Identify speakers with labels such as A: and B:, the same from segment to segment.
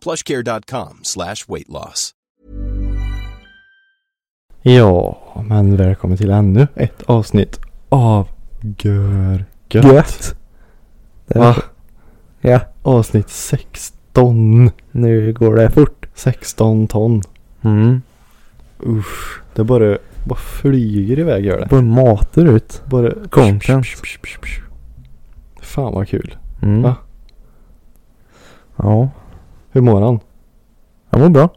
A: plushcare.com slash weight loss.
B: Ja, men välkommen till ännu ett avsnitt av Gör Gött.
C: Gött. Det-
B: Va?
C: Ja,
B: Avsnitt 16.
C: nu går det fort.
B: 16 ton.
C: Mm.
B: Usch. Det bara, bara flyger iväg gör det.
C: Bara matar ut
B: Bara...
C: content.
B: Fan vad kul.
C: Mm.
B: Va?
C: Ja,
B: Hur mår han?
C: det var bra.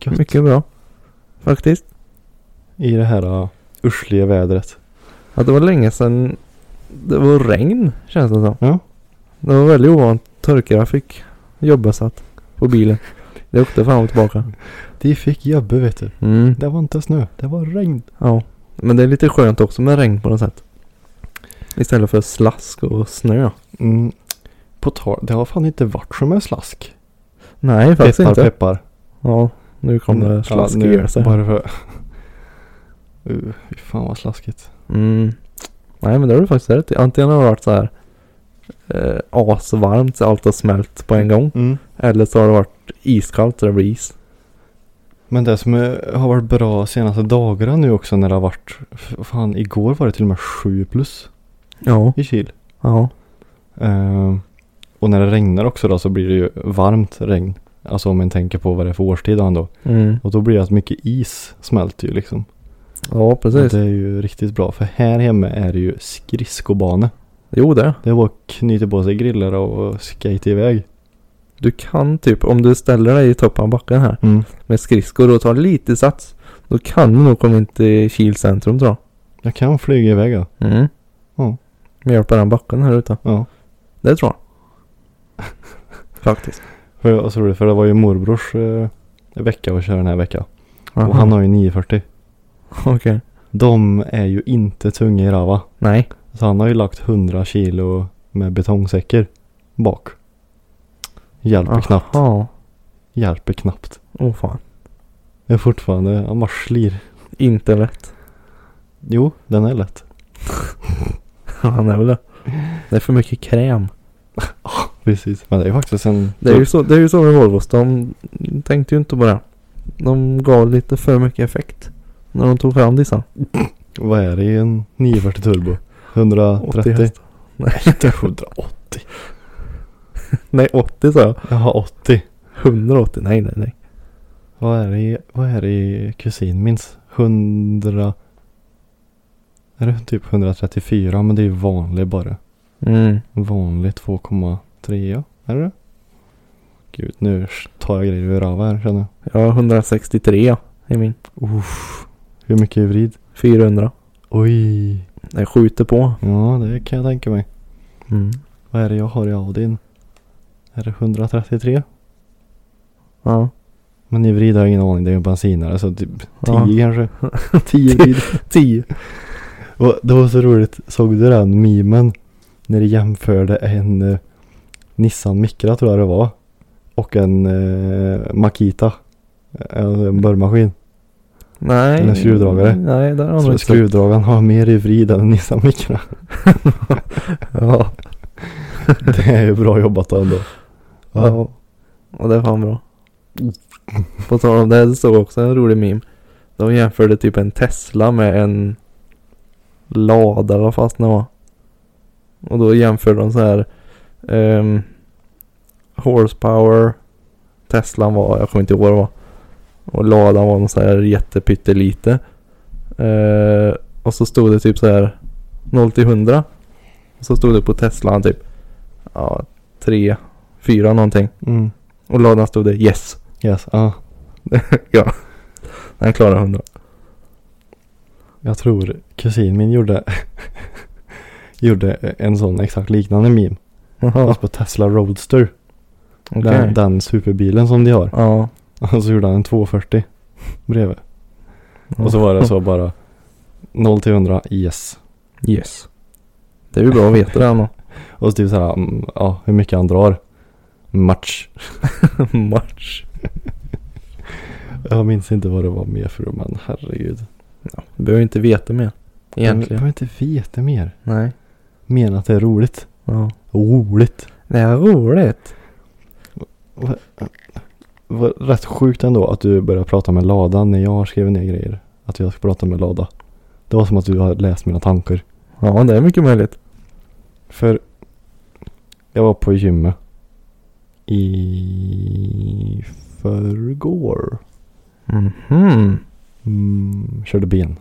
B: Gött.
C: Mycket bra. Faktiskt.
B: I det här uh, ursliga vädret.
C: Att det var länge sedan det var regn känns det som.
B: Ja.
C: Det var väldigt ovant torka jag fick jobba satt på bilen. Det åkte fram och tillbaka.
B: De fick jobbe vet du.
C: Mm.
B: Det var inte snö. Det var regn.
C: Ja. Men det är lite skönt också med regn på något sätt. Istället för slask och snö.
B: Mm. På tal, det har fan inte varit som en slask.
C: Nej, faktiskt
B: Peppar
C: inte.
B: peppar.
C: Mm. Ja, nu kom det slask
B: Mm. ja,
C: i
B: nu,
C: sig.
B: Bara för... Uh, fy fan vad slaskigt.
C: Mm. Nej men det har du faktiskt rätt i. Antingen har det varit så här eh, asvarmt så allt har smält på en gång.
B: Mm.
C: Eller så har det varit iskallt så det blir is.
B: Men det som är, har varit bra senaste dagarna nu också när det har varit... f- Fan, igår var det till och med 7 plus
C: Ja.
B: i kyl.
C: Ja.
B: Ehm, och när det regnar också då så blir det ju varmt regn. Alltså om man tänker på vad det är för årstid ändå.
C: Mm.
B: Och då blir det att mycket is smälter ju liksom.
C: Ja
B: Och
C: precis.
B: det är ju riktigt bra. För här hemma är det ju skridskobane.
C: Jo det.
B: Det är bara att knyta på sig grillar och skate iväg.
C: Du kan typ om du ställer dig i toppen av backen här
B: Mm.
C: med skridskor och tar lite sats. Då kan du nog komma in till Kil centrum tror
B: Jag kan flyga iväg ja.
C: jag. Mm.
B: Ja.
C: Med hjälp av den backen här ute.
B: ja.
C: Det tror jag. Faktiskt.
B: För, jag- så roligt, för det var ju morbrors eh, vecka att köra den här veckan. Och han har ju 940.
C: Okej.
B: De är ju inte tunga i rava.
C: Nej.
B: Så han har ju lagt 100 kilo med betongsäckar bak. Hjälper knappt.
C: Ja.
B: Hjälper knappt.
C: Åh fan.
B: Det är fortfarande, han bara slir.
C: Inte lätt.
B: Jo, den är lätt.
C: Han är väl det. Det är för mycket kräm.
B: Precis. Men det är ju faktiskt en...
C: Det är ju så, det är ju så med Volvos. De tänkte ju inte på det. De gav lite för mycket effekt. När de tog fram dissa.
B: Vad är det i en 940 turbo? 130?
C: hästar. Nej, inte 180. nej, 80 sa jag.
B: Jaha, 80.
C: 180. Nej, nej, nej.
B: Vad är det i, vad är det i kusin minns? 100... Är det typ 134? Men det är ju vanlig bara.
C: Mm.
B: Vanlig 2,3 Är det det? Gud, nu tar jag grejer ur rava här känner jag.
C: Jag har 163 ja, i min.
B: Hur mycket är vrid?
C: 400.
B: Oj.
C: Jag skjuter på.
B: Ja, det kan jag tänka mig.
C: Mm.
B: Vad är det jag har i Audin? Är det 133?
C: Ja.
B: Men i vrid har jag ingen aning. Det är ju en bensinare så typ 10
C: Ja.
B: kanske. 10 vrid.
C: 10.
B: Och det var så roligt, såg du den memen? När de jämförde en eh, Nissan Micra tror jag det var och en eh, Makita. En, en borrmaskin.
C: Nej.
B: Eller skruvdragare.
C: Nej, där har
B: Så
C: de inte.
B: skruvdragaren har mer i vrid än en Nissan Micra.
C: Ja.
B: Det är ju bra jobbat ändå.
C: Ja. Och det är fan bra. På tal om det, det såg också en rolig meme. De jämförde typ en Tesla med en lada eller vad fast det var. Och då jämförde de så här. ehm, horsepower. Teslan var, jag kommer inte ihåg vad det var. Och ladan var någon så här jättepyttelite. Eh, och så stod det typ så här 0 till 100. Och så stod det på Teslan typ ja, 3, 4 någonting.
B: Mm.
C: Och ladan stod det yes.
B: Yes, ja.
C: Den klarar 100.
B: Jag tror kusin min gjorde gjorde en sån exakt liknande meme.
C: Jaha.
B: Fast på Tesla Roadster.
C: Okej.
B: Den, den superbilen som de har.
C: Ja.
B: Och så gjorde han en 240 bredvid. Och så var det så bara 0 till 100, yes.
C: Yes. Det är ju bra att veta det ändå.
B: Och så typ såhär, mm, ja hur mycket han drar. Match.
C: Match.
B: Jag minns inte vad det var mer för men herregud.
C: Du behöver inte veta mer.
B: Jag
C: Egentligen.
B: behöver inte veta mer.
C: Nej.
B: Men att det är roligt.
C: Ja.
B: Roligt.
C: Det är roligt.
B: var rätt sjukt ändå att du började prata med Lada när jag har skrivit ner grejer. Att jag ska prata med Lada. Det var som att du har läst mina tankar.
C: Ja, det är mycket möjligt.
B: För jag var på gymmet i förrgår.
C: Mhm.
B: Mm, körde ben.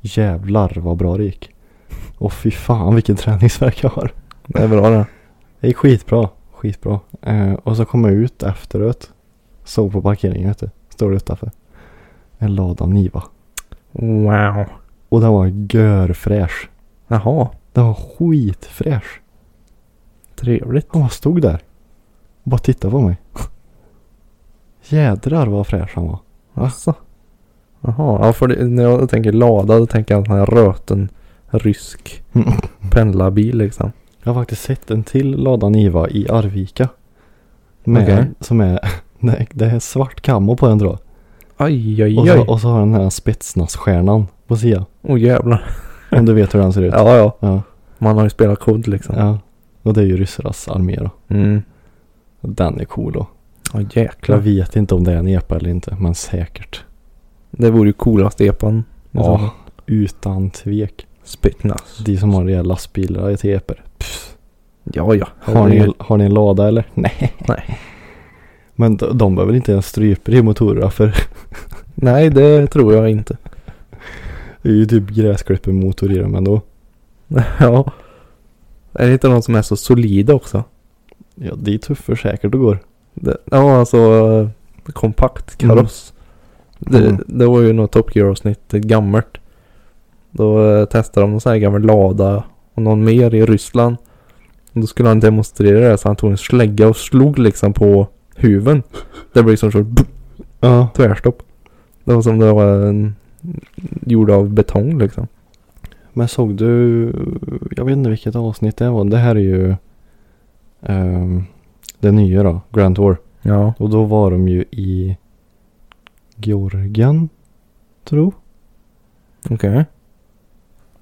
B: Jävlar vad bra det gick. Och fy fan vilken träningsvärk jag har.
C: Det är bra det.
B: Det gick skitbra. Skitbra. Eh, och så kom jag ut efteråt. Såg på parkeringen vet du. Står det utanför. En Lada Niva.
C: Wow.
B: Och den var görfräsch.
C: Jaha.
B: Den var skitfräsch.
C: Trevligt.
B: Han bara stod där. Och bara tittade på mig. Jädrar vad fräsch han var.
C: Alltså. Jaha. Ja, för det, när jag tänker lada då tänker jag en sån här röten rysk pendlarbil liksom.
B: Jag har faktiskt sett en till Lada Niva i Arvika. Med,
C: Okej.
B: Som är, nej, det är svart kammo på den tror jag.
C: Aj,
B: Och
C: aj, aj.
B: så, och så har den här spetsnasstjärnan på sidan.
C: Åh jävlar.
B: Om du vet hur den ser ut.
C: Ja, ja.
B: Ja.
C: Man har ju spelat kod liksom.
B: ja. Och det är ju ryssarnas armé då.
C: Mm.
B: Den är cool då.
C: Ja,
B: Jag
C: jäklar.
B: vet inte om det är en epa eller inte, men säkert.
C: Det vore ju coolaste epan.
B: Ja, utan tvek.
C: Spytnas.
B: De som har rejäla lastbilar i teper.
C: Ja, ja.
B: Har ni,
C: Herregud.
B: har ni en lada eller? Nej.
C: Nej.
B: Men de, de behöver inte ens stryper i motorerna för
C: Nej, det tror jag inte.
B: det är ju typ gräsklippermotor i dem ändå.
C: ja. Är det inte någon som är så solida också?
B: Ja, det är tuffare säkert det går.
C: Det, ja, alltså eh, kompakt kaross.
B: Mm.
C: Det, det var ju något Top Gear-avsnitt, ett gammalt. Då eh, testade de någon sån här gammal lada och någon mer i Ryssland. Och då skulle han demonstrera det så han tog en slägga och slog liksom på huven. Det blev liksom så
B: Ja.
C: tvärstopp. Det var som det var en, gjord av betong liksom.
B: Men såg du, jag vet inte vilket avsnitt det var. Det här är ju ehm, det nya då, Grand Tour.
C: Ja.
B: Och då var de ju i Georgien, tro.
C: Okej.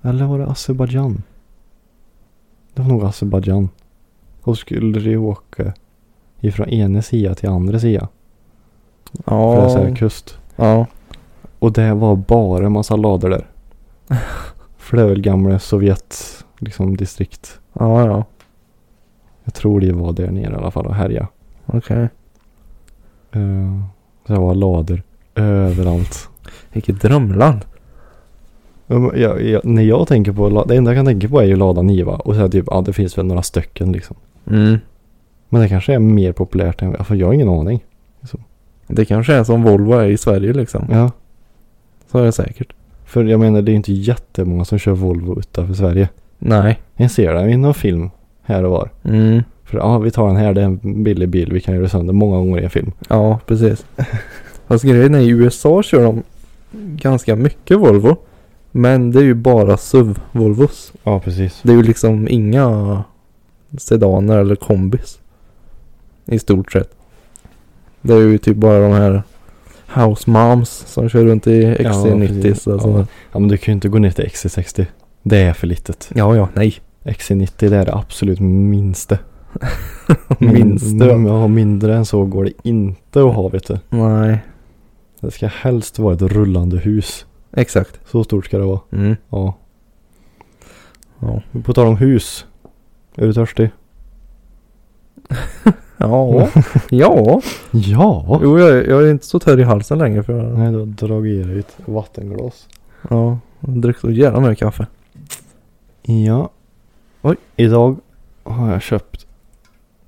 B: Eller var det Azerbajdzjan? Det var nog Azerbajdzjan. Och skulle de åka ifrån ena sidan till andra sidan. För det är så
C: Ja.
B: här kust.
C: Ja.
B: Och det var bara en massa lador där. För det är väl gamla Sovjet, liksom distrikt.
C: Ja, ja.
B: Jag tror det var där nere i alla fall och härja.
C: Okej.
B: Eh, så det var lador överallt.
C: Vilket drömland.
B: Ja, men Jag, jag, när jag tänker på, la- det enda jag kan tänka på är ju lada Niva. Och så här typ, ja det finns väl några stycken liksom.
C: Mm.
B: Men det kanske är mer populärt än, för jag har ingen aning.
C: Det kanske är som Volvo är i Sverige liksom.
B: Ja.
C: Så är det säkert.
B: För jag menar det är inte jättemånga som kör Volvo utanför Sverige.
C: Nej.
B: Jag ser det i någon film här och var.
C: Mm.
B: För ja, vi tar den här, det är en billig bil, vi kan göra sönder många gånger i en film.
C: Ja, precis. Fast grejen är i USA kör de ganska mycket Volvo. Men det är ju bara SUV-Volvos.
B: Ja, precis.
C: Det är ju liksom inga sedaner eller kombis. I stort sett. Det är ju typ bara de här house moms som kör runt i alltså. XC90
B: precis.
C: och sånt där.
B: Ja, men du kan ju inte gå ner till XC60. Det är för litet.
C: Ja, ja, nej.
B: XC90 det är det absolut minsta.
C: Minsta.
B: Min, ja, mindre än så går det inte att ha vet du.
C: Nej,
B: Det ska helst vara ett rullande hus.
C: exakt.
B: Så stort ska det vara.
C: Mm.
B: Ja.
C: Ja.
B: På tal om hus. Är du törstig?
C: Ja, ja.
B: Ja.
C: Jo, jag, jag är inte så törr i halsen längre för jag
B: Nej, du har dragit i dig ett vattenglas.
C: ja, jag drack så jävla mycket kaffe.
B: Ja. Oj. Idag har jag köpt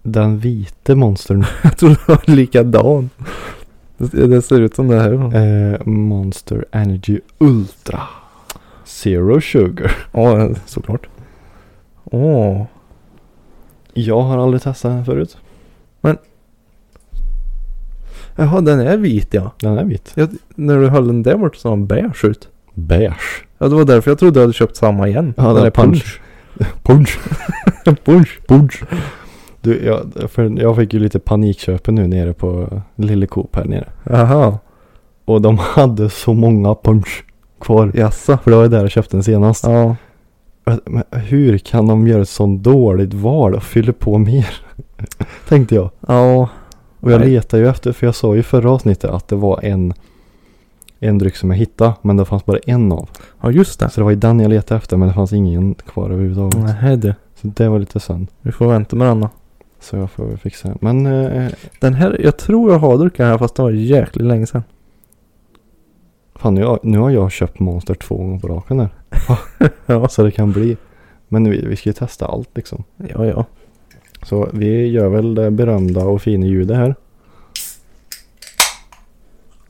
B: den vita monstern.
C: Jag tror det var likadan. Det, det ser ut som det här.
B: eh, Monster Energy Ultra. Zero Sugar.
C: Ja, såklart. Åh,
B: Jag har aldrig testat den förut.
C: Jaha, den är vit ja.
B: Den är vit.
C: Jag, när du höll den där borta så var den beige ut.
B: Beige.
C: Ja, det var därför jag trodde jag hade köpt samma igen.
B: Ja, den är punch. Punch.
C: punch. punch.
B: Du, jag, för jag fick ju lite panikköpen nu nere på Lille Coop här nere.
C: Aha.
B: Och de hade så många punch kvar.
C: Jaså.
B: För det var ju där jag köpte den senast.
C: Ja.
B: Men hur kan de göra ett sånt dåligt val och fyller på mer? Tänkte jag.
C: Ja.
B: Och jag
C: Nej.
B: letar ju efter, för jag sa ju i förra avsnittet att det var en, en dryck som jag hittade, men det fanns bara en av.
C: Ja, just det.
B: Så det var ju den jag letade efter, men det fanns ingen kvar överhuvudtaget.
C: Nej du.
B: Så det var lite synd.
C: Vi får vänta med denna.
B: Så jag får väl fixa. Men eh,
C: Den här, jag tror jag har druckit den här fast det var jäkligt länge sedan.
B: fan, nu har, nu har jag köpt Monster två gånger på raken där.
C: Ja.
B: Så det kan bli. Men vi, vi ska ju testa allt liksom.
C: Ja, ja.
B: Så vi gör väl det berömda och fina ljudet här.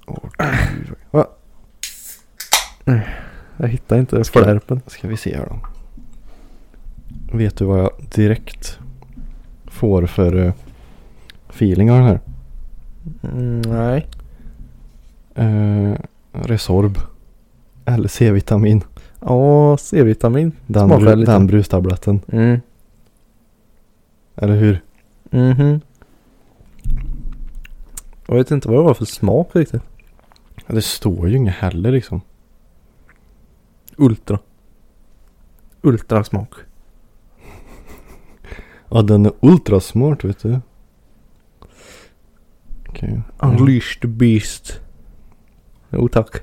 B: Åh, gud. Va?
C: Jag hittar inte
B: Ska-
C: flärpen.
B: Ska vi se här då. Vet du vad jag direkt får för eh, feeling av den här?
C: Mm, nej.
B: Eh, Resorb. Eller C-vitamin.
C: Ja, C-vitamin.
B: Den,
C: Smakar
B: bru-
C: lite.
B: den brustabletten.
C: Mm.
B: Eller hur?
C: Mhm. Jag vet inte vad det var för smak riktigt.
B: Det står ju inget heller liksom.
C: Ultra. Ultrasmak.
B: Ja den är ultrasmart vet du. Okej.
C: Unleashed beast. Jo tack.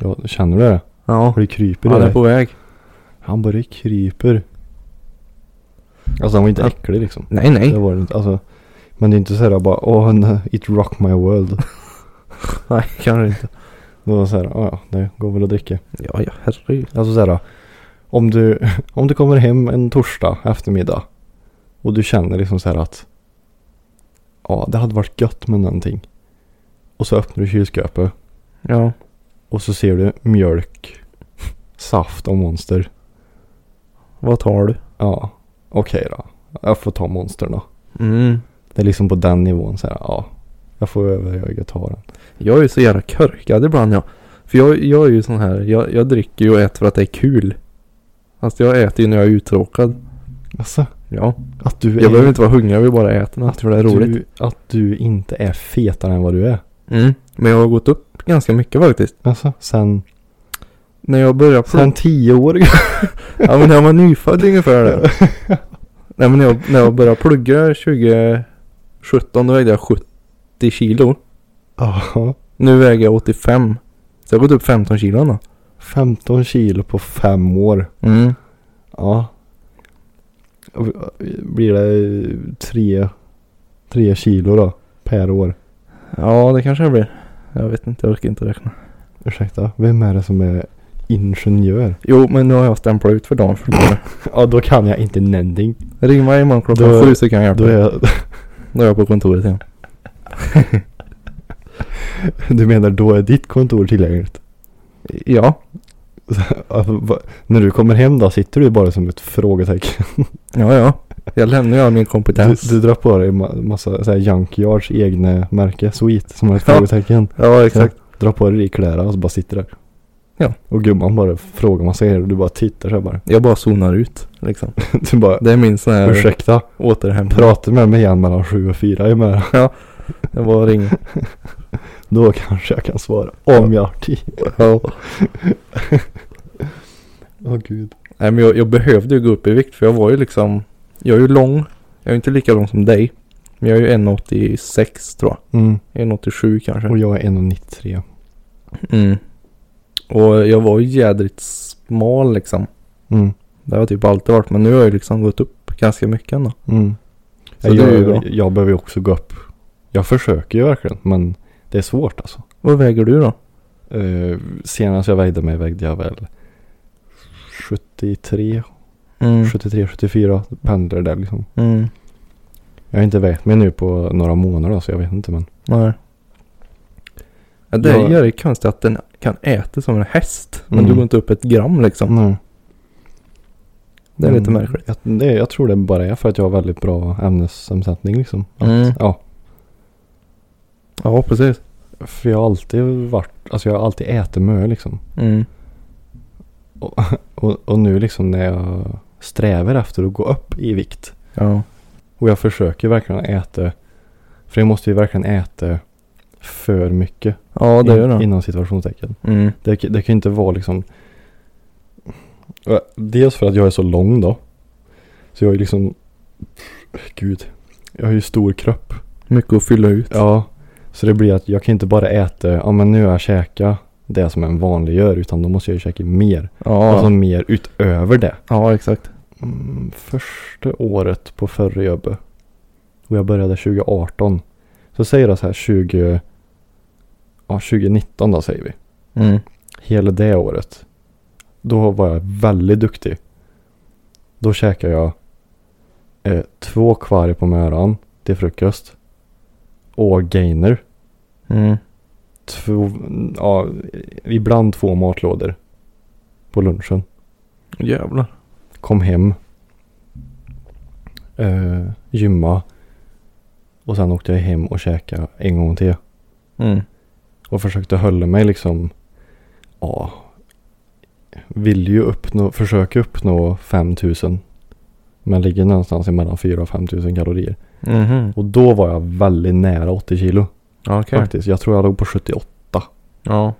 B: Ja, känner du det?
C: Ja.
B: Har du kryper
C: Han
B: i
C: är
B: dig?
C: på väg.
B: Han bara kryper. Alltså han var inte
C: Ja.
B: äcklig liksom.
C: Nej,
B: Det
C: nej.
B: var det inte. Alltså, men det är inte så här bara åh nej, it rock my world.
C: Nej, kanske inte.
B: Det var så här, "Ah, ja det går väl att dricka.
C: Ja, ja, herregud.
B: Alltså så här, om du, om du kommer hem en torsdag eftermiddag och du känner liksom så här att ja det hade varit gött med någonting. Och så öppnar du kylskåpet
C: Ja.
B: och så ser du mjölk, saft och monster.
C: Vad tar du?
B: Ja, okej då. Jag får ta monster då.
C: Mm.
B: Det är liksom på den nivån så här, ja. Jag får överväga att ta den.
C: Jag är ju så jävla körkad ibland jag. För jag, jag är ju sån här, jag, jag dricker ju och äter för att det är kul. Alltså jag äter ju när jag är uttråkad.
B: Alltså,
C: Ja.
B: att du
C: Jag behöver inte vara hungrig, jag vill bara äta något för det är roligt.
B: Du, att du inte är fetare än vad du är.
C: Mm. Men jag har gått upp ganska mycket faktiskt.
B: Alltså, sen,
C: När jag började
B: sen tio år.
C: Ja men när jag var nyfödd ungefär där. Nej men när jag, när jag började plugga 2017 då vägde jag 70 kilo.
B: Ja,
C: Nu väger jag 85. Så jag har gått upp 15 kilo då.
B: 15 kilo på fem år.
C: Mm.
B: Ja. Blir det tre, tre kilo då? Per år.
C: Ja det kanske jag blir. Jag vet inte, jag orkar inte räkna.
B: Ursäkta, vem är det som är ingenjör?
C: Jo men nu har jag stämplat ut för dagen. För dagen.
B: Ja, då kan jag inte någonting.
C: Ring mig imorgon klockan
B: Då-
C: sju så kan jag hjälpa
B: Då är
C: dig.
B: jag,
C: Då är jag på kontoret igen.
B: du menar då är ditt kontor tillgängligt?
C: Ja.
B: Ja, Alltså, va- När du kommer hem då sitter du bara som ett frågetecken.
C: Ja ja. Jag lämnar ju all min
B: Du,
C: kompetens.
B: du drar på dig ma- massa så här Junkyards egna märke, Sweet, som är ett
C: Ja.
B: frågetecken.
C: Ja exakt.
B: Dra på dig det i kläderna och så bara sitter där.
C: Ja.
B: Och gumman bara frågar massa grejer och du bara tittar så här bara.
C: Jag bara zonar ut liksom.
B: Du bara,
C: Det är min sån här
B: ursäkta,
C: återhämtning.
B: prata med mig igen mellan sju och fyra. Jag menar,
C: Jag bara ringer.
B: då kanske jag kan svara. Om jag har tid.
C: Ja.
B: Åh gud.
C: Nej men jag, jag behövde ju gå upp i vikt för jag var ju liksom Jag är ju lång Jag är inte lika lång som dig Men jag är ju 1,86 tror
B: Mm.
C: jag 1,87 kanske
B: Och jag är 1,93.
C: mm. Och jag var ju jädrigt smal liksom
B: Mm.
C: Det har jag typ alltid varit men nu har jag ju liksom gått upp ganska mycket ändå
B: Mm.
C: Så
B: jag,
C: det är ju bra.
B: jag behöver ju också gå upp. Jag försöker ju verkligen, men det är svårt alltså.
C: Vad väger du då?
B: Eh, senast jag vägde mig vägde jag väl 73,
C: Mm.
B: 73, 74 pendlar där liksom.
C: Mm.
B: Jag har inte vägt mig nu på några månader så jag vet inte men.
C: Nej ja, Det
B: Jag-
C: gör det konstigt att den kan äta som en häst Men
B: Mm.
C: du går inte upp ett gram liksom
B: Nej.
C: Det är lite
B: Mm.
C: märkligt
B: Jag, det, jag tror det bara är för att jag har väldigt bra ämnesomsättning liksom. Att,
C: Mm.
B: Ja,
C: Ja, precis.
B: För jag har alltid varit, alltså jag har alltid ätit mö liksom.
C: Mm.
B: Och, och nu liksom när jag strävar efter att gå upp i vikt.
C: Ja.
B: Och jag försöker verkligen äta. För jag måste ju verkligen äta för mycket.
C: Ja, det
B: in-
C: gör det.
B: Inom situationstecken.
C: Mm.
B: Det, det kan ju inte vara liksom. Dels för att jag är så lång då. Så jag är liksom. Gud. Jag har ju stor kropp.
C: Mycket att fylla ut.
B: Ja. Så det blir att jag kan inte bara äta. Ja men nu har jag käkat det som en vanlig gör. Utan då måste jag ju käka mer.
C: Ja,
B: Alltså mer utöver det.
C: ja exakt.
B: Mm, första året på förra jobbet. Och jag började 2018. Så säger jag så här 20... Ja, 2019 då säger vi.
C: Mm.
B: Hela det året. Då var jag väldigt duktig. Då käkade jag eh, två kvarg på morgonen till frukost. Och gainer.
C: Mm.
B: Två, ja, ibland två matlådor. På lunchen.
C: Jävlar.
B: kom hem, eh, gymma och sen åkte jag hem och käkade en gång till.
C: Mm.
B: Och försökte hålla mig liksom, ja, vill ju uppnå, försöka uppnå 5000. Men ligger någonstans mellan 4 000 och 5000 kalorier.
C: Mhm.
B: Och då var jag väldigt nära 80 kilo
C: Okej.
B: faktiskt. Jag tror jag låg på 78.
C: Ja.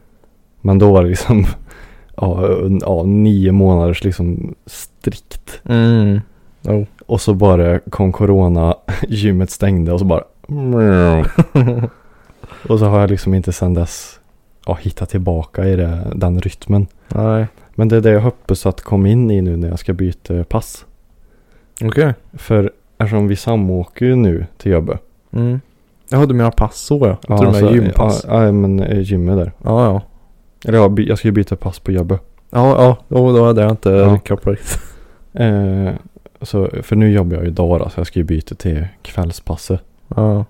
B: Men då var det liksom, ja, un- ja nio månaders liksom strikt
C: Mm. Oh.
B: Och så bara kom corona, gymmet stängde och så bara Och så har jag liksom inte sedan dess ja, hittat tillbaka i det, den rytmen.
C: Nej.
B: Men det är det jag hoppas att komma in i nu när jag ska byta pass.
C: Okej.
B: För eftersom vi samåker ju nu till jobbet.
C: Mm. Jaha, du menar pass så ja. Jag tror
B: alltså,
C: det är gympass. Ja,
B: Ja, ja men eh, gymmet där.
C: ja.
B: Eller ja, by- jag ska ju byta pass på jobbet.
C: Ja, ja. Jo, då hade jag inte
B: Ja.
C: kopplat riktigt.
B: Eh, så, för nu jobbar jag ju dag då, så jag ska ju byta till kvällspasset.
C: Ja.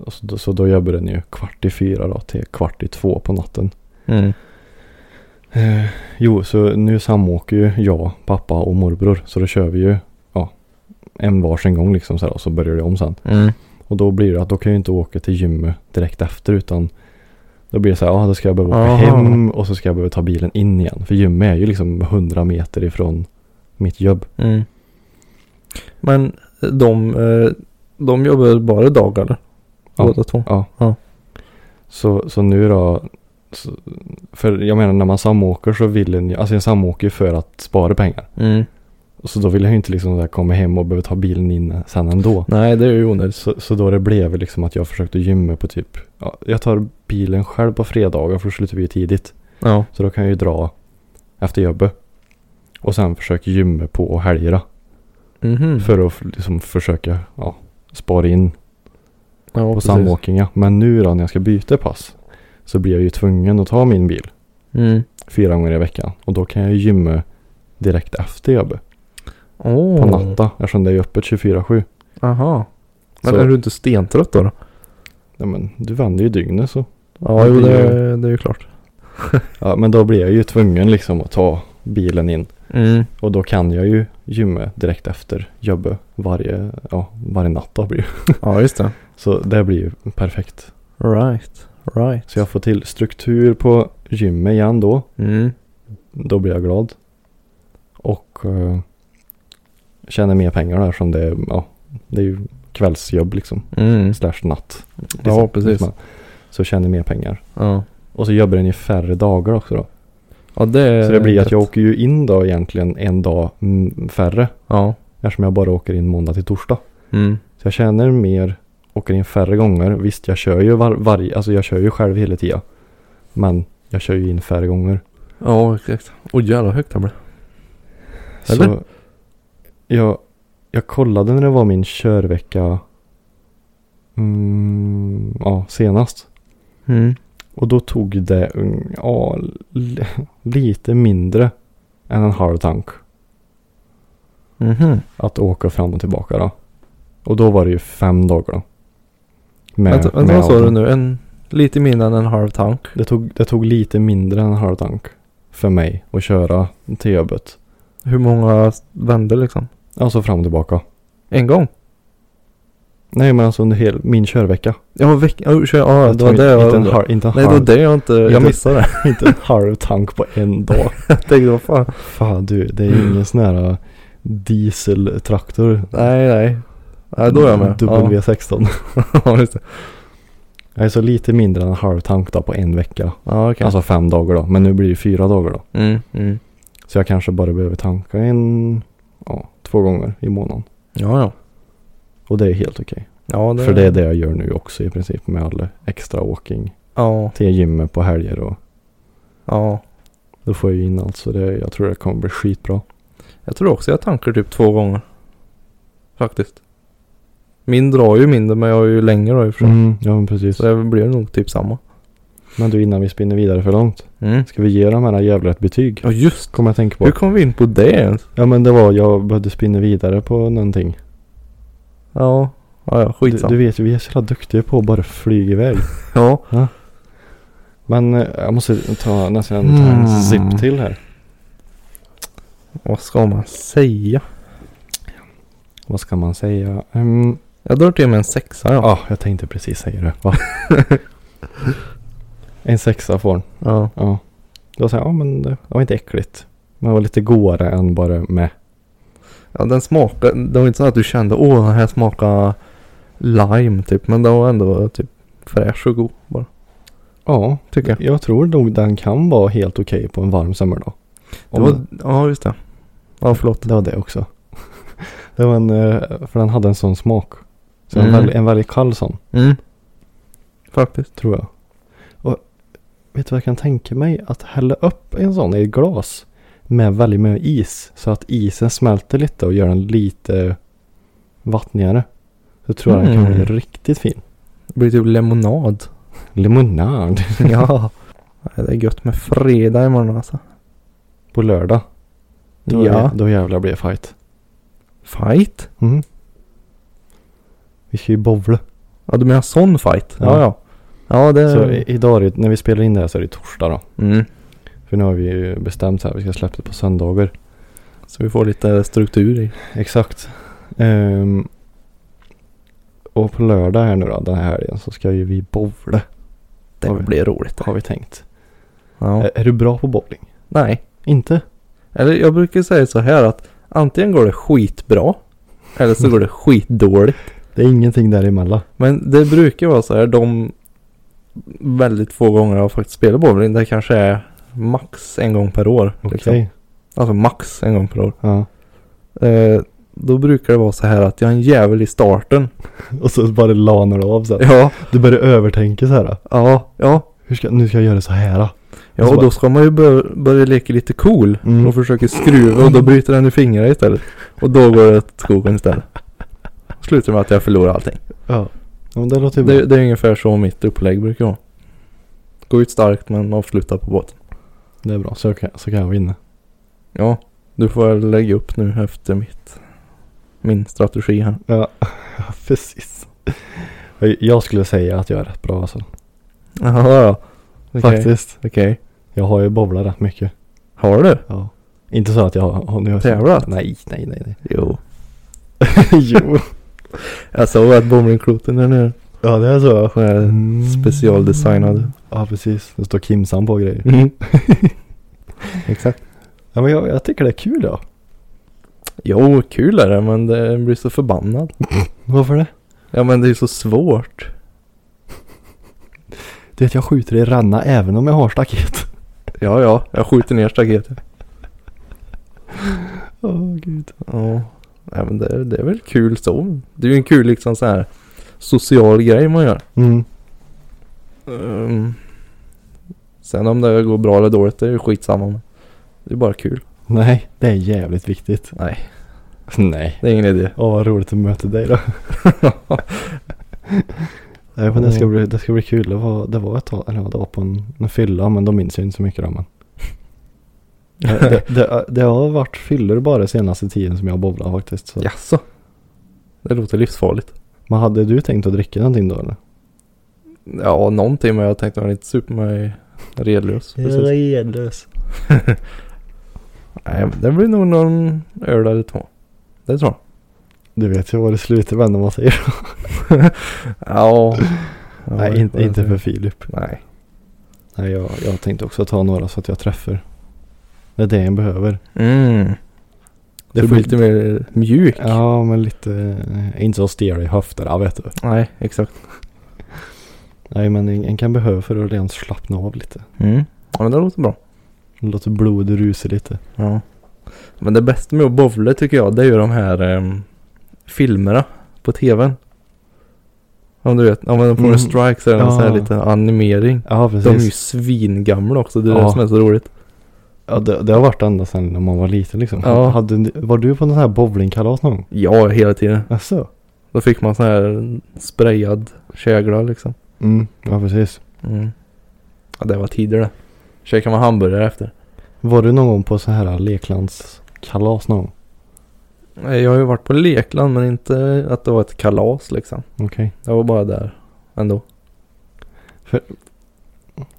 B: Och Så, då- så då jobbar den ju kvart i fyra då till kvart i två på natten.
C: Mm.
B: Eh, jo, så nu samåker ju jag, pappa och morbror. Så då kör vi ju ja, en varsin gång liksom så här, och så börjar det om sen.
C: Mm.
B: Och då blir det att då kan jag ju inte åka till gymmet direkt efter utan då blir det så här, ja då ska jag behöva åka
C: Aha.
B: hem och så ska jag behöva ta bilen in igen. För gymmet är ju liksom 100 meter ifrån mitt jobb.
C: Mm. Men de, eh, de jobbar bara dag eller?
B: Ja.
C: Båda två?
B: Ja.
C: Ja.
B: Så, så nu då, så, för jag menar när man samåker så vill en, ju- alltså jag samåker ju för att spara pengar.
C: Mm.
B: Så då vill jag ju inte liksom så här komma hem och behöva ta bilen in sen ändå.
C: Nej, det är ju onödigt.
B: Så, så då det blev liksom att jag försökte gymma på typ, ja, jag tar bilen själv på fredagar för då slutar vi ju tidigt.
C: Ja.
B: Så då kan jag ju dra efter jobbet. Och sen försöka gymma på helger då,
C: Mhm.
B: För att f- liksom försöka ja, spara in
C: ja,
B: på
C: precis.
B: samåkning. ja. Men nu då när jag ska byta pass så blir jag ju tvungen att ta min bil
C: Mm.
B: fyra gånger i veckan. Och då kan jag ju gymma direkt efter jobbet.
C: Åh.
B: På natta eftersom det är öppet 24-7.
C: Aha. Men
B: Så-
C: är du inte stentrött då? då?
B: Ja, men du vänder ju dygnet så.
C: Ja, jo
B: Det
C: det,
B: är
C: det är ju klart.
B: Ja, men då blir jag ju tvungen liksom att ta bilen in.
C: Mm.
B: Och då kan jag ju gymma direkt efter jobbet varje, ja, varje natt då blir det.
C: Ja, just det.
B: Så det blir ju perfekt.
C: Right. Right.
B: Så jag får till struktur på gymmet igen då.
C: Mm.
B: Då blir jag glad. Och eh, tjänar mer pengar där som det är, ja, det är ju kvällsjobb liksom.
C: Mm.
B: Slash natt.
C: Ja, precis.
B: Liksom. Så tjänar mer pengar.
C: Ja.
B: Och så jobbar den ju färre dagar också då.
C: Ja, det är
B: Så det blir att jag
C: gött.
B: åker ju in då egentligen en dag mm, färre.
C: Ja.
B: Eftersom jag bara åker in måndag till torsdag.
C: Mm.
B: Så jag tjänar mer, åker in färre gånger. Visst, jag kör ju var, varje, alltså jag kör ju själv hela tiden. Men jag kör ju in färre gånger.
C: Ja, exakt. Och jävla högt det blev. Eller?
B: Så jag, jag kollade när det var min körvecka mm, ja, senast.
C: Mm.
B: Och då tog det mm, ja, l- lite mindre än en halv tank
C: Mhm.
B: att åka fram och tillbaka då. Och då var det ju fem dagar då. Med-
C: Vänta, vänta
B: med
C: vad sa du
B: auton.
C: nu? En, lite mindre än en halv tank.
B: Det tog, det tog lite mindre än en halv tank för mig att köra till jobbet.
C: Hur många vänder liksom?
B: Alltså fram och tillbaka.
C: En gång?
B: Nej men alltså under hel, min körvecka.
C: Ja, veckan. Oh, kör- ja, det var det jag
B: Inte en
C: undrade.
B: har, inte en
C: Nej, det var
B: halv,
C: det jag inte... Jag
B: Inte-
C: missade det.
B: inte en halv tank på en dag.
C: Jag tänkte, vad fan.
B: Fan du, det är ju ingen sån här äh, dieseltraktor.
C: Nej, nej. Nej, då är jag med. Ja.
B: W16.
C: ja, just det.
B: Nej så lite mindre än en halv tank då på en vecka.
C: Ja, okej.
B: Alltså fem dagar då. Men nu blir det fyra dagar då.
C: Mm, mm.
B: Så jag kanske bara behöver tanka en, ja, två gånger i månaden.
C: Ja, ja.
B: Och det är helt okej.
C: Ja, det...
B: För det är det jag gör nu också i princip med all extra walking
C: Ja,
B: till gymmet på helger och
C: ja.
B: då får jag ju in allt så det, jag tror det kommer bli skitbra.
C: Jag tror också jag tankar typ två gånger. Faktiskt. Min drar ju mindre men jag är ju längre då i och för sig.
B: Mm, ja men precis.
C: Så det blir nog typ samma.
B: Men du innan vi spinner vidare för långt.
C: Mm.
B: Ska vi ge de här jävla ett betyg?
C: Ja just
B: Kommer jag tänka på.
C: Hur kom vi in på det ens?
B: Ja men det var, jag behövde spinna vidare på någonting.
C: Ja, ja, ja
B: Du,
C: skitsamma.
B: du vet ju, vi är så jävla duktiga på att bara flyga iväg.
C: Ja.
B: Men eh, jag måste ta nästan ta
C: Mm.
B: en zip till här.
C: Vad ska man säga?
B: Vad ska man säga? Ehm,
C: Jag drar till med en sexa
B: Ja,
C: ja.
B: jag tänkte precis säga det. Va? en sexa får den.
C: Ja.
B: Ja. Då säger jag, ja men det var inte äckligt. Men det var lite godare än bara med.
C: Ja den smakar. Det var inte så att du kände åh den här smakar lime typ. Men den var ändå typ fräsch och god bara.
B: Ja,
C: Tycker jag.
B: jag tror nog den kan vara helt okej på en varm sommardag.
C: Det
B: Om-
C: var, ja just det. Ja förlåt.
B: Det var det också. det var en, eh, för den hade en sån smak. Så en,
C: Mm.
B: väldigt, en väldigt kall sån,
C: Mm. Faktiskt.
B: tror jag. Och vet du vad jag kan tänka mig? Att hälla upp en sån i ett glas med väldigt mycket is. Så att isen smälter lite och gör den lite vattnigare. Så tror jag den kan
C: Mm.
B: bli riktigt fin.
C: Det blir typ lemonad.
B: Limonad
C: Ja. Nej, Det är gött med fredag imorgon alltså.
B: på lördag. Då,
C: Ja.
B: då jävlar blir det fight.
C: Fight?
B: Mm. Vi ska ju bowla.
C: Ja du menar sån fight? Ja
B: Ja.
C: ja. Ja det...
B: Så i, idag, är det, när vi spelar in det här så är det torsdag då.
C: mm.
B: För nu har vi ju bestämt så här, vi ska släppa det på söndagar.
C: så vi får lite struktur i.
B: Exakt. Ehm, och på lördag här nu då, den här helgen, så ska ju vi bowla.
C: Det
B: Har vi.
C: blir roligt.
B: Har vi tänkt.
C: Ja.
B: Är, är du bra på bowling?
C: Nej.
B: Inte?
C: Eller jag brukar säga så här att antingen går det skitbra. Eller så går det skitdåligt.
B: Det är ingenting däremellan.
C: Men det brukar vara så här de väldigt få gånger jag faktiskt spelar bowling. Det kanske är max en gång per år.
B: Okej.
C: liksom. Alltså max en gång per år.
B: Ja.
C: Eh, då brukar det vara så här att jag är en jävel i starten.
B: Och så bara lanar du av så här.
C: Ja,
B: Du börjar övertänka så här. då.
C: ja, ja.
B: Hur ska, nu ska jag göra så här. då.
C: Ja, och då ska man ju börja, börja leka lite cool
B: Mm.
C: och försöka skruva och då bryter den i fingrarna istället. Och då går det åt skogen istället. Slutar med att jag förlorar allting.
B: Ja. ja men det låter ju bra.
C: Det, det är ungefär så mitt upplägg brukar vara. Gå ut starkt men avsluta på båten.
B: Det är bra. Så kan, så kan jag vinna.
C: Ja, du får väl lägga upp nu efter mitt, min strategi här.
B: Ja, ja precis. Jag- Jag skulle säga att jag är rätt bra alltså.
C: Jaha, ja. Okej,
B: Faktiskt.
C: Okej.
B: Jag har ju bowlat rätt mycket.
C: Har du?
B: Ja. Inte så att jag har... har- nu har-
C: Tävlat?
B: Nej, nej, nej. nej.
C: Jo.
B: jo.
C: Jag såg att bowlingkloten där nere.
B: Ja, det är så.
C: Den är Specialdesignad.
B: Mm. Ja, precis. Det står Kimsan på grejer.
C: Mm. Exakt.
B: Ja, men jag, jag tycker det är kul ja.
C: Jo, kul är det men det blir så förbannad.
B: Varför det?
C: Ja men det är ju så svårt.
B: Du vet, jag skjuter i ränna även om jag har staket.
C: Ja ja, jag skjuter ner staketet.
B: Åh, oh, gud.
C: Ja. Nej men det, det är väl kul så. Det är ju en kul liksom så här social grej man gör.
B: Mm.
C: Ehm, sen om det går bra eller dåligt det är ju skitsamma. Men det är bara kul.
B: Nej, det är jävligt viktigt.
C: Nej,
B: Nej.
C: det är ingen idé.
B: Åh, vad roligt att möta dig då. Nej, men det ska bli, det ska bli kul. Det var, det var ett tag, eller ja, det var på en, en fylla, men de minns jag inte så mycket då. Men. det, det, det, det har varit fyllor bara senaste tiden som jag bowlar faktiskt. Så.
C: Jaså? Det låter livsfarligt.
B: Men hade du tänkt att dricka någonting då eller?
C: Ja, någonting men jag tänkte att jag inte super mig redlös. precis.
B: Redlös.
C: Nej, men det blir nog någon öl eller två. Det tror jag.
B: Du vet ju vad det slutar med när man säger så.
C: Ja. Ja,
B: Nej,
C: det
B: inte,
C: får jag
B: inte
C: säga.
B: för Filip.
C: Nej.
B: Nej, jag, jag tänkte också ta några så att jag träffar. Det är det jag behöver.
C: Mm.
B: Det
C: Det
B: får-
C: blir lite mer mjuk.
B: Ja, men lite, eh, inte så stel i höfterna vet du.
C: Nej, exakt.
B: Nej, men en, en kan behöva för att ens slappna av lite.
C: Mm. Ja, men det låter bra.
B: Låta blodet rusa lite.
C: Ja. Men det bästa med att bowla tycker jag, det är ju de här ehm, filmerna på tvn. Om du vet, om man får
B: Mm.
C: en strike så är det en sån här
B: Ja.
C: liten animering.
B: Ja,
C: De är ju
B: precis.
C: svingamla också, det är
B: Ja.
C: det som är så roligt.
B: Ja, det, det har varit ända sedan när man var liten liksom.
C: Ja.
B: Hade, ni- var du på någon sån här bowlingkalas någon gång?
C: Ja, hela tiden.
B: Jaså?
C: Då fick man sån här sprayad kägla liksom.
B: Mm, ja precis.
C: Mm. Ja, det var tider det. Käkade man hamburgare efter.
B: Var du någon gång på så här leklandskalas någon gång?
C: Nej, Jag har ju varit på lekland men inte att det var ett kalas liksom.
B: Okej.
C: Jag var bara där ändå.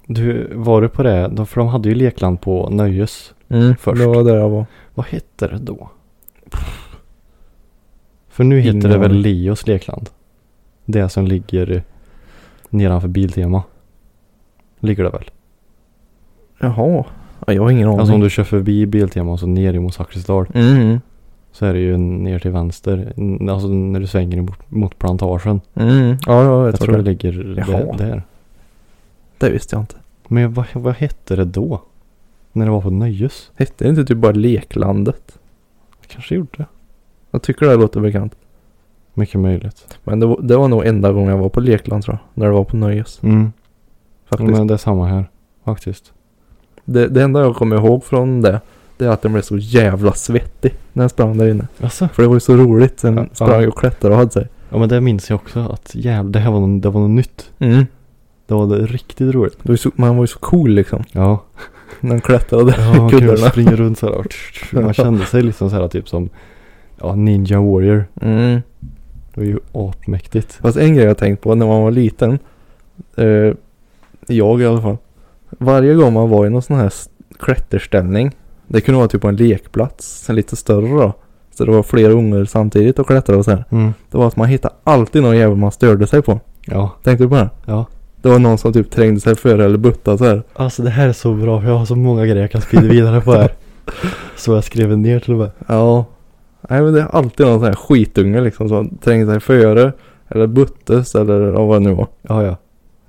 B: Du, var du på det? De- För de hade ju lekland på Nöjes.
C: Mm,
B: först.
C: Det var där jag var.
B: Vad hette det då? För nu
C: Ingen
B: heter det väl
C: aning.
B: Leos lekland? Det som ligger nedanför Biltema. Ligger det väl?
C: Jaha. Ja, jag har ingen aning.
B: Alltså om du kör förbi Biltema och så ner i mot Zakrisdal.
C: Mm,
B: Så är det ju ner till vänster. N- Alltså när du svänger mot, mot plantagen.
C: mm. Ja, jag vet
B: Jag, tror det ligger där,
C: Jaha.
B: där.
C: Det visste jag inte.
B: Men vad, vad hette det då? När det var på Nöjes?
C: Hette det inte typ bara leklandet?
B: Jag kanske gjorde det.
C: Jag tycker det låter bekant.
B: Mycket möjligt.
C: Men det var, det var nog enda gången jag var på lekland tror jag. När det var på Nöjes.
B: Mm.
C: Faktiskt.
B: Men det är samma här. Faktiskt.
C: Det, det enda jag kommer ihåg från det. Det är att den blev så jävla svettig. När jag sprang där inne.
B: Alltså.
C: För det var ju så roligt. Sen
B: Ja,
C: sprang
B: ja.
C: jag och klättrade och hade sig.
B: Ja men det minns jag också att jävlar, det här var något, det var något nytt.
C: Mm.
B: Det var det riktigt roligt.
C: Det var ju så, man var ju så cool liksom.
B: Ja.
C: När han klättrade
B: Ja, man
C: i
B: kunde
C: kuddarna.
B: springa runt så här. och tsch, tsch, Man kände sig liksom så här typ som ja, Ninja Warrior.
C: Mm.
B: Det var ju apmäktigt.
C: Fast en grej jag tänkt på när man var liten. Eh, jag i alla fall. Varje gång man var i någon sån här s- klätterställning. Det kunde vara typ på en lekplats. En lite större då. Så det var flera ungar samtidigt och klättrade och så här.
B: Mm.
C: Det var att man hittade alltid någon jävel man störde sig på.
B: Ja.
C: Tänkte du på det?
B: Ja.
C: Det var någon som typ trängde sig före eller buttade så här.
B: Alltså det här är så bra för jag har så många grejer jag kan sprida vidare på här. Så jag skrev ner till och med.
C: Ja. Nej men det är alltid någon sån här skitunge liksom som trängde sig före. Eller buttes eller ja, vad det nu var.
B: Ja ja.